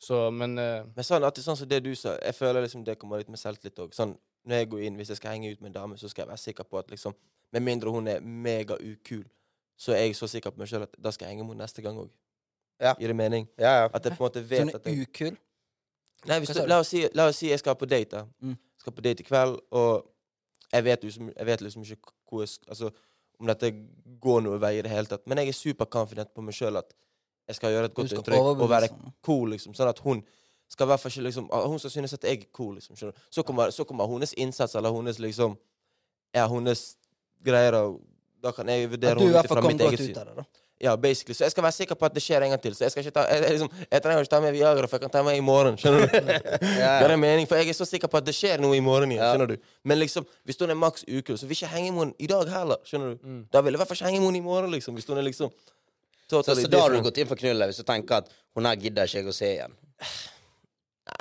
Speaker 3: Så, men eh,
Speaker 2: Men sånn, at det, sånn som det du sa, jeg føler liksom det kommer litt med selvtillit òg. Sånn, når jeg går inn, hvis jeg skal henge ut med en dame, så skal jeg være sikker på at liksom Med mindre hun er mega ukul, så er jeg så sikker på meg sjøl at da skal jeg henge med henne neste gang òg.
Speaker 1: Ja.
Speaker 2: Gir det mening?
Speaker 1: ja, ja.
Speaker 2: At jeg på en måte
Speaker 4: Sånn
Speaker 2: vet at jeg,
Speaker 4: ukul.
Speaker 2: Nei, hvis
Speaker 4: Hva
Speaker 2: du,
Speaker 4: sa du?
Speaker 2: la, oss si, la oss si jeg skal på date. da.
Speaker 4: Mm.
Speaker 2: Skal på date i kveld, og jeg vet, liksom, jeg vet liksom ikke hvor jeg, sk- altså, om dette går noen vei i det hele tatt. Men jeg er superconfident på meg sjøl at jeg skal gjøre et
Speaker 4: Du
Speaker 2: godt
Speaker 4: skal
Speaker 2: inntrykk og være
Speaker 4: overbevise henne.
Speaker 2: cool, liksom. Sånn at hun skal i hvert fall ikke liksom at Hun skal synes at jeg er cool, liksom. Skjønner du? Så kommer, så kommer hennes innsats eller hennes liksom Ja, hennes greier og Da kan jeg
Speaker 4: At
Speaker 2: vurdere
Speaker 4: du i
Speaker 2: henne
Speaker 4: hvert
Speaker 2: ut fra
Speaker 4: fall kom
Speaker 2: mitt
Speaker 4: godt
Speaker 2: eget
Speaker 4: ut
Speaker 2: syn.
Speaker 4: av det, da.
Speaker 2: Ja, basically. Så jeg skal være sikker på at det skjer en gang til. Så jeg skal ikke ta Jeg, jeg, liksom, jeg trenger ikke ta med Viagra, for jeg kan ta med i morgen. Skjønner
Speaker 1: [laughs]
Speaker 2: du?
Speaker 1: ja, ja.
Speaker 2: Det er mening, for jeg er så sikker på at det skjer noe i morgen igjen.
Speaker 1: Ja.
Speaker 2: skjønner du? Men liksom, hvis hun er maks ukul, så vil ikke jeg henge med henne i dag heller. skjønner du?
Speaker 3: Mm.
Speaker 2: Da vil jeg i hvert fall ikke henge med henne i morgen, liksom. Hvis hun er liksom
Speaker 1: Så,
Speaker 2: totally
Speaker 1: så da har du
Speaker 2: different.
Speaker 1: gått inn for knullet hvis du tenker at hun her gidder ikke jeg å se igjen?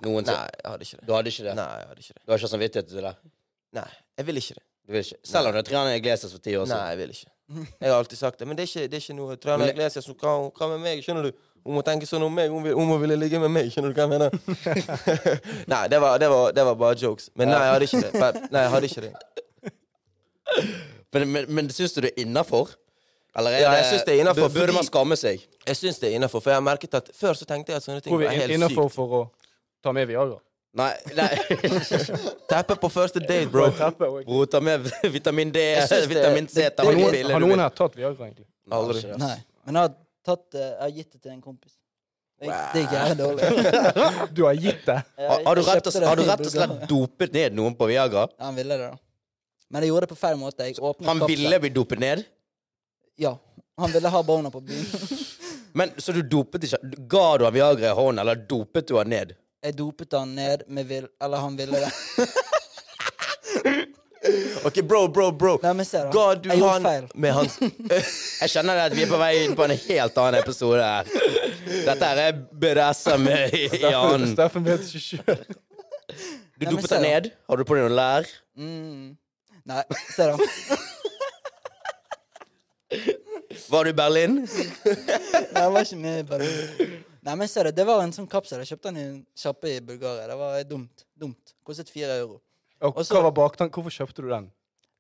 Speaker 1: Noen
Speaker 2: Nei, jeg hadde ikke det.
Speaker 1: Du hadde ikke det?
Speaker 2: Nei, jeg hadde ikke det.
Speaker 1: Du har ikke samvittighet til det?
Speaker 2: Nei, jeg vil ikke det.
Speaker 1: Du vil ikke. Selv om du er Triana Iglesias for ti år
Speaker 3: Altså.
Speaker 2: Nei,
Speaker 1: siden?
Speaker 2: jeg vil ikke. Jeg har alltid sagt det. Men det er ikke, det er ikke noe
Speaker 1: Men
Speaker 2: Triana
Speaker 1: det-
Speaker 2: Iglesias hun kan, hun kan med meg, skjønner du? Hun må tenke sånn om meg. Hun, vil, hun må ville ligge med meg, skjønner du hva jeg
Speaker 3: [laughs]
Speaker 2: mener? nei, det var, det, var, det var bare jokes. Men nei, jeg hadde
Speaker 3: [laughs]
Speaker 2: ikke det. Bare- Nei, jeg hadde ikke det.
Speaker 1: Men, men, men syns du det er innafor? Eller er
Speaker 2: Ja, jeg
Speaker 1: det-
Speaker 2: synes det er innenfor,
Speaker 1: Bør- Burde
Speaker 2: fordi-
Speaker 1: man skamme seg?
Speaker 2: Jeg syns det er innafor, for jeg har merket at før så tenkte jeg at sånne ting
Speaker 3: Hvor vi
Speaker 2: var
Speaker 3: er
Speaker 2: helt
Speaker 3: innafor
Speaker 2: sykt.
Speaker 3: for å ta med Viagra.
Speaker 1: Nei, [laughs] nei.
Speaker 2: Teppe på første date, bro.
Speaker 3: Teppe og-
Speaker 1: Bro, ta med [laughs] vitamin D,
Speaker 2: synes det-
Speaker 1: vitamin C, ta
Speaker 3: Har
Speaker 1: med de
Speaker 3: noen,
Speaker 1: piller
Speaker 3: har
Speaker 1: du
Speaker 3: noen
Speaker 1: vil.
Speaker 3: her tatt Viagra, egentlig?
Speaker 2: Aldri.
Speaker 1: Ikke det, ass.
Speaker 4: Nei. Men jeg har, tatt, eh, jeg har gitt det til en kompis. Det, det er jævlig
Speaker 1: [laughs]
Speaker 4: dårlig.
Speaker 3: Du har gitt det?
Speaker 4: Jeg-
Speaker 1: Har, har, du
Speaker 4: jeg
Speaker 1: rett
Speaker 4: kjøpte
Speaker 1: og,
Speaker 4: det
Speaker 1: har du
Speaker 4: i
Speaker 1: rett og slett
Speaker 4: Bulgaria.
Speaker 1: dopet ned noen på Viagra?
Speaker 4: Ja, han ville det, da. Men jeg gjorde det på feil måte. Jeg åpnet
Speaker 1: Han
Speaker 4: kapselen.
Speaker 1: ville bli dopet ned?
Speaker 4: Ja. Han ville ha bona på byen.
Speaker 1: Men Så du dopet ikke? Ga du han Viagra i hånden, eller dopet du han ned?
Speaker 4: Jeg dopet han ned med vil... Eller han ville det.
Speaker 2: Ok, bro, bro, bro.
Speaker 4: Nei, men se, da.
Speaker 2: Ga du
Speaker 4: jeg gjorde
Speaker 2: han
Speaker 4: feil.
Speaker 2: med hans
Speaker 1: Jeg kjenner det at vi er på vei inn på en helt annen episode her. Dette her er BDSM i i
Speaker 3: Steffen,
Speaker 1: annen.
Speaker 3: [laughs] Steffen vet ikke sjøl.
Speaker 1: Du
Speaker 4: Nei, men
Speaker 1: dopet
Speaker 4: se
Speaker 1: han
Speaker 4: da.
Speaker 1: ned? Har du på deg noen lær?
Speaker 4: Mm. Nei, se, da.
Speaker 1: Var du i Berlin?
Speaker 4: Nei, jeg var ikke med i Berlin. Nei, men se det. Det var en sånn kapsel. Jeg kjøpte den i en sjappe i Bulgaria. Det var dumt. Dumt. Kostet fire euro.
Speaker 3: Og
Speaker 4: Og så-
Speaker 3: hva var baktanken? Hvorfor kjøpte du den?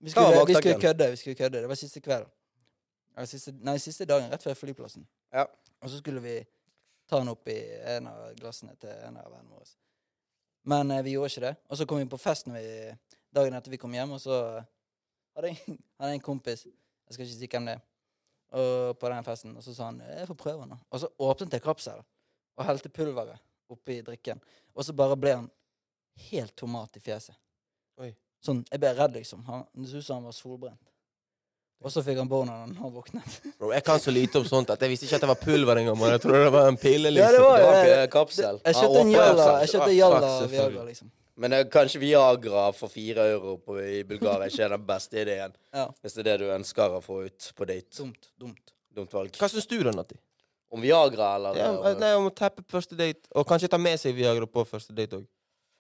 Speaker 4: Vi
Speaker 1: Hva var
Speaker 4: skulle, vi skulle
Speaker 1: baktanken?
Speaker 4: kødde. vi skulle kødde. Det var siste kvelden. Eller siste, nei, siste dagen, rett før flyplassen.
Speaker 1: Ja.
Speaker 4: Og så skulle vi ta den opp i en av glassene til en av vennene våre. Men eh, vi gjorde ikke det. Og så kom vi på fest når vi, dagen etter vi kom hjem, og så hadde jeg, hadde jeg en kompis Jeg skal ikke si hvem det er. Og på den festen, og så sa han 'Jeg får prøve den', da. Og så åpnet jeg kapselen og helte pulveret oppi drikken. Og så bare ble han helt tomat i fjeset.
Speaker 2: Oi.
Speaker 4: Sånn, Jeg ble redd, liksom. Han, det så ut som han var solbrent. Og så fikk han boner når han våknet.
Speaker 2: Bro, jeg kan så lite om sånt at jeg visste ikke at det var pulver engang. man. Jeg trodde det var en pille, liksom.
Speaker 4: Ja, det var-
Speaker 1: Det var
Speaker 4: jeg-
Speaker 1: en kapsel.
Speaker 4: Jeg
Speaker 1: Han
Speaker 4: kjøpte en
Speaker 1: åpnet
Speaker 4: jalla
Speaker 1: kapselen.
Speaker 4: jeg kjøpte
Speaker 2: Ah,
Speaker 4: jalla
Speaker 2: fuck,
Speaker 4: og Viagra,
Speaker 2: selvfølgelig.
Speaker 4: liksom.
Speaker 1: Men det er kanskje Viagra for fire euro på, i Bulgaria ikke er den beste ideen.
Speaker 4: Ja,
Speaker 1: Hvis det er det du ønsker å få ut på date.
Speaker 4: Dumt. dumt.
Speaker 1: Dumt valg.
Speaker 2: Hva syns du, da, Natti?
Speaker 1: Om Viagra, eller? eh,
Speaker 2: Ja,
Speaker 1: om-
Speaker 2: nei, om å teppe første date, og kanskje ta med seg Viagra på første date òg.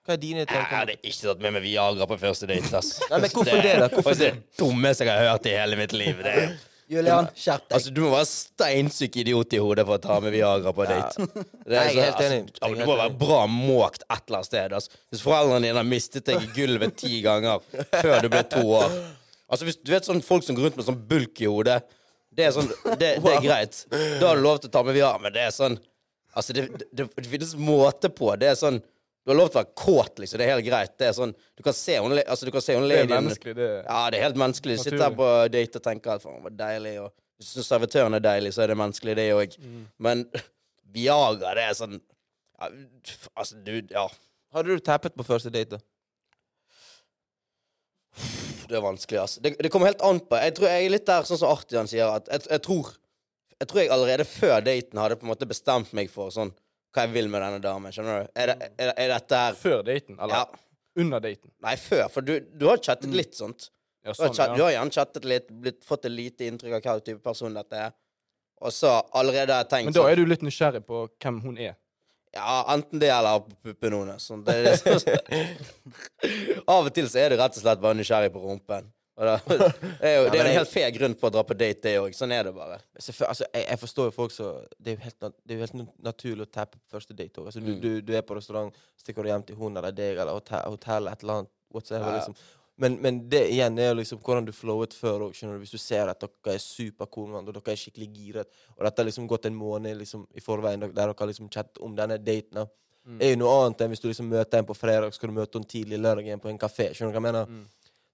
Speaker 2: Hva er dine
Speaker 1: Jeg
Speaker 2: tanker?
Speaker 1: hadde ikke tatt med meg Viagra på første date. ass.
Speaker 2: Nei, men hvorfor det, da? Hvorfor
Speaker 1: det? er det dummeste jeg har hørt i hele mitt liv. Det. er-
Speaker 4: Julian, skjerp deg.
Speaker 1: Altså, Du må være steinsyk idiot i hodet for å ta med Viagra på date. Det
Speaker 2: Nei, jeg er
Speaker 1: sånn,
Speaker 2: helt
Speaker 1: altså,
Speaker 2: enig.
Speaker 1: ja, men
Speaker 2: Jeg
Speaker 1: du
Speaker 2: er
Speaker 1: må
Speaker 2: helt
Speaker 1: være bra måkt et eller annet sted. Altså. Hvis foreldrene dine har mistet deg i gulvet ti ganger før du ble to år Altså, hvis Du vet sånn folk som går rundt med sånn bulk i hodet. Det er sånn, det, det er greit. Da har du lov til å ta med Viagra, men det er sånn Altså, det, det, det finnes måte på. Det er sånn Du har lov til å være kåt, liksom. Det er helt greit. Det er sånn, Du kan se hun, le- altså, du kan se hun
Speaker 3: Det er
Speaker 1: lady
Speaker 3: menneskelig, det.
Speaker 1: ja, det er helt menneskelig. Du sitter
Speaker 3: Naturlig.
Speaker 1: her på date og tenker at faen, det var deilig. Og hvis du syns servitøren er deilig, så er det menneskelig, det òg.
Speaker 3: Mm.
Speaker 1: Men [laughs] Viagra, det er sånn ja, Altså, du Ja,
Speaker 2: Hadde du teppet på første date, da?
Speaker 1: det er vanskelig, altså. Det, det kommer helt an på. Jeg tror jeg er litt der, sånn som Artian sier, at jeg, jeg tror Jeg tror jeg allerede før daten hadde på en måte bestemt meg for sånn hva jeg vil med denne damen. Skjønner du? Er, det, er, er dette her
Speaker 3: Før Mm. daten, eller
Speaker 1: Ja.
Speaker 3: under daten.
Speaker 1: Nei, før. For du, du har chattet litt, sånt. Du
Speaker 3: Ja,
Speaker 1: har,
Speaker 3: sånn,
Speaker 1: chat, du
Speaker 3: ja.
Speaker 1: har gjerne chattet litt, blitt, fått et lite inntrykk av hva type person dette er. Og så allerede har jeg tenkt sånn,
Speaker 3: Men da er du litt nysgjerrig på hvem hun er.
Speaker 1: Ja, enten det eller på puppene hennes. Sånn, det er det som- [laughs] Av og til så er du rett og slett bare nysgjerrig på rumpen. Og da, det er jo det er jo en helt fair grunn for å dra på date, det òg. Sånn er det bare.
Speaker 2: Selvfø- Altså, jeg, jeg forstår jo folk som Det er jo helt, nat- det er jo helt nat- naturlig å tappe på første date òg. Altså, du, du, du er på restaurant, stikker du hjem til hun eller deg eller hotell, hotell et eller annet. Whatsoever,
Speaker 1: Ja.
Speaker 2: liksom. men, men det igjen er jo liksom hvordan du flowet før òg. Hvis du ser at dere er supercool med hverandre, og dere er skikkelig giret, og dette har liksom gått en måned liksom, i forveien der dere har liksom chattet om denne daten da. er jo noe annet enn hvis du liksom møter en på fredag, skal du møte henne tidlig lørdag igjen på en kafé. Skjønner du hva jeg mener?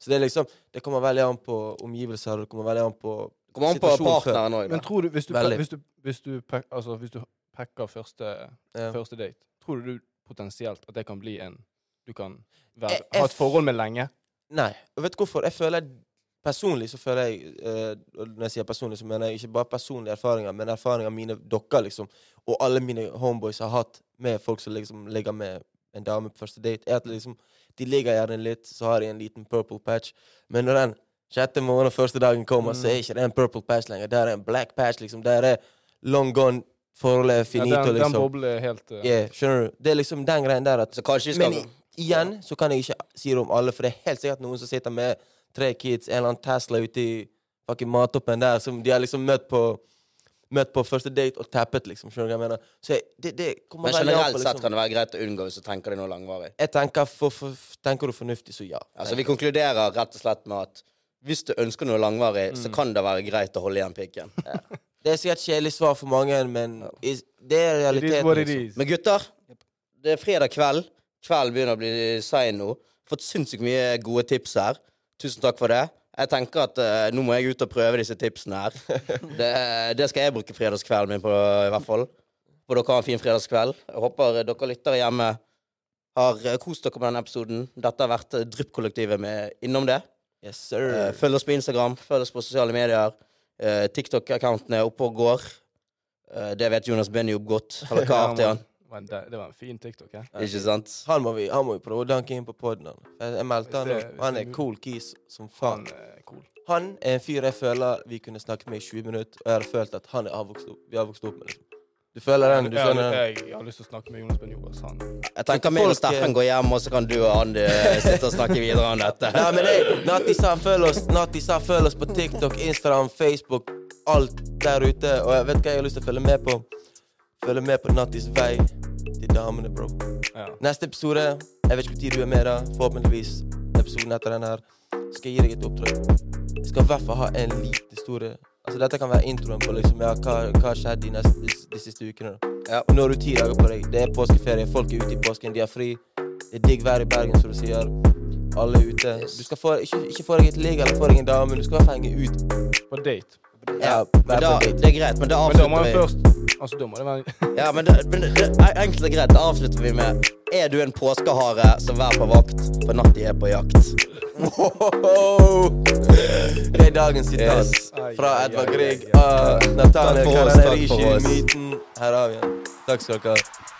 Speaker 2: Så det er liksom Det kommer veldig an på omgivelser, det kommer veldig an på
Speaker 1: Kommer an på
Speaker 2: situasjonen før.
Speaker 1: partneren òg.
Speaker 3: Men tror du, hvis du,
Speaker 2: Veldig.
Speaker 3: hvis du, hvis du, pack- altså, hvis du packer første,
Speaker 2: Ja.
Speaker 3: første date, tror du du potensielt at det kan bli en du kan være,
Speaker 2: Jeg- jeg
Speaker 3: ha et forhold med lenge?
Speaker 2: Nei. Og vet du hvorfor? Jeg føler Personlig så føler jeg eh, og Når jeg sier personlig, så mener jeg ikke bare personlige erfaringer, men erfaringer mine dere, liksom, og alle mine homeboys har hatt med folk som liksom ligger med en dame på første date, er at liksom De ligger gjerne litt, så har de en liten purple patch, men når den sjette måneden første dagen kommer,
Speaker 3: Mm.
Speaker 2: så er ikke det en purple patch lenger. Der er en black patch, liksom. Der er long gone, forholdet er finito,
Speaker 3: ja, den, den
Speaker 2: liksom.
Speaker 3: boblen er helt eh,
Speaker 2: Yeah, skjønner du? Det er liksom den greien der at
Speaker 1: Så kanskje vi
Speaker 2: men
Speaker 1: skal
Speaker 2: i- igjen så kan jeg ikke si det om alle, for det er helt sikkert noen som sitter med tre kids, en eller annen Tesla ute i fucking mattoppen der, som de har liksom møtt på Møtt på første date og tappet, liksom. Skjønner du hva jeg mener? Så jeg, det, det kommer
Speaker 1: Men
Speaker 2: veldig an på,
Speaker 1: generelt sett
Speaker 2: liksom.
Speaker 1: kan det være greit å unngå hvis du tenker deg noe langvarig.
Speaker 2: Jeg tenker, for, for, tenker du fornuftig, så ja.
Speaker 1: Altså Vi konkluderer rett og slett med at hvis du ønsker noe langvarig,
Speaker 2: Mm.
Speaker 1: så kan det være greit å holde igjen pikken.
Speaker 2: Det er sikkert kjedelig svar for mange, men is, det er
Speaker 3: It is
Speaker 2: realiteten.
Speaker 3: what it
Speaker 2: Liksom.
Speaker 3: is.
Speaker 1: Men gutter, det er fredag kveld. Kvelden begynner å bli sein nå. Fått sinnssykt mye gode tips her. Tusen takk for det. Jeg tenker at eh, nå må jeg ut og prøve disse tipsene her. Det, det skal jeg bruke fredagskvelden min på, i hvert fall. For dere har en fin fredagskveld. Jeg håper eh, dere lyttere hjemme har eh, kost dere med denne episoden. Dette har vært eh, Drypp-kollektivet med innom det.
Speaker 2: Yes, sir.
Speaker 1: Eh, Følg oss på Instagram, følg oss på sosiale medier. Eh, TikTok-accounten er oppe og går. Eh, Det vet Jonas Benjob godt. Eller hva
Speaker 3: Ja,
Speaker 1: artig han.
Speaker 3: men det, det var en fin TikTok. Ja.
Speaker 1: Ikke sant?
Speaker 2: han, må vi, han må vi prøve å danke inn på poden. Jeg, jeg meldte han,
Speaker 3: det-
Speaker 2: og
Speaker 3: hvis
Speaker 2: han
Speaker 3: det er
Speaker 2: er
Speaker 3: mulig.
Speaker 2: cool kis som
Speaker 3: Han
Speaker 2: faen.
Speaker 3: er eh, cool.
Speaker 2: Han er en fyr jeg føler vi kunne snakket med i 20 minutter, og jeg har følt at han er avvokst opp, vi har vokst opp med. Liksom. Du føler den? du
Speaker 3: jeg,
Speaker 2: føler den.
Speaker 3: jeg, jeg har lyst til å snakke med Jonas Ben Jobas. Han
Speaker 1: Jeg tenker meg og
Speaker 2: Folk, eh,
Speaker 1: Steffen går hjem, og så kan du og Andy eh, sitte og snakke videre om dette.
Speaker 2: Nei, men hey, Natti sa følg oss Natti sa følg oss på TikTok, Instagram, Facebook, alt der ute. Og jeg vet hva jeg har lyst til å følge med på. Følge med på Nattis vei til damene, bro.
Speaker 3: ja.
Speaker 2: Neste episode, jeg vet ikke hvor tid du er med da, forhåpentligvis episoden etter den her, skal jeg gi deg et oppdrag. Jeg skal i hvert fall ha en liten historie. Altså, dette kan være introen på liksom, ja, hva hva har skjedd de, neste, de, de siste ukene. da.
Speaker 1: Ja.
Speaker 2: Og nå har du ti dager på deg. Det er påskeferie, folk er ute i påsken, de har fri. Det er digg vær i Bergen, som du sier. Alle er ute. Du skal få, ikke, ikke få deg et ligg eller få deg en dame, men du skal i hvert fall henge ut.
Speaker 3: På date.
Speaker 2: Ja,
Speaker 1: Men
Speaker 2: være
Speaker 1: da,
Speaker 2: på date.
Speaker 1: det er greit, men det
Speaker 3: Men da må
Speaker 1: avslutter
Speaker 3: han
Speaker 1: vi
Speaker 3: først Altså, da må det være
Speaker 1: Ja, men det, men det, det- enkelt og greit, det avslutter vi med Er du en påskehare, så vær på vakt, for Natti er på jakt.
Speaker 2: Det er dagens sitat
Speaker 1: Yes.
Speaker 2: fra
Speaker 3: Ai, ai,
Speaker 2: Edvard
Speaker 3: ai,
Speaker 2: Grieg Ah,
Speaker 3: ai,
Speaker 2: av Nathaniel
Speaker 1: Takk for oss, takk for
Speaker 2: Kalanerishi
Speaker 1: oss.
Speaker 2: Myten. Her har vi den. Takk skal dere ha.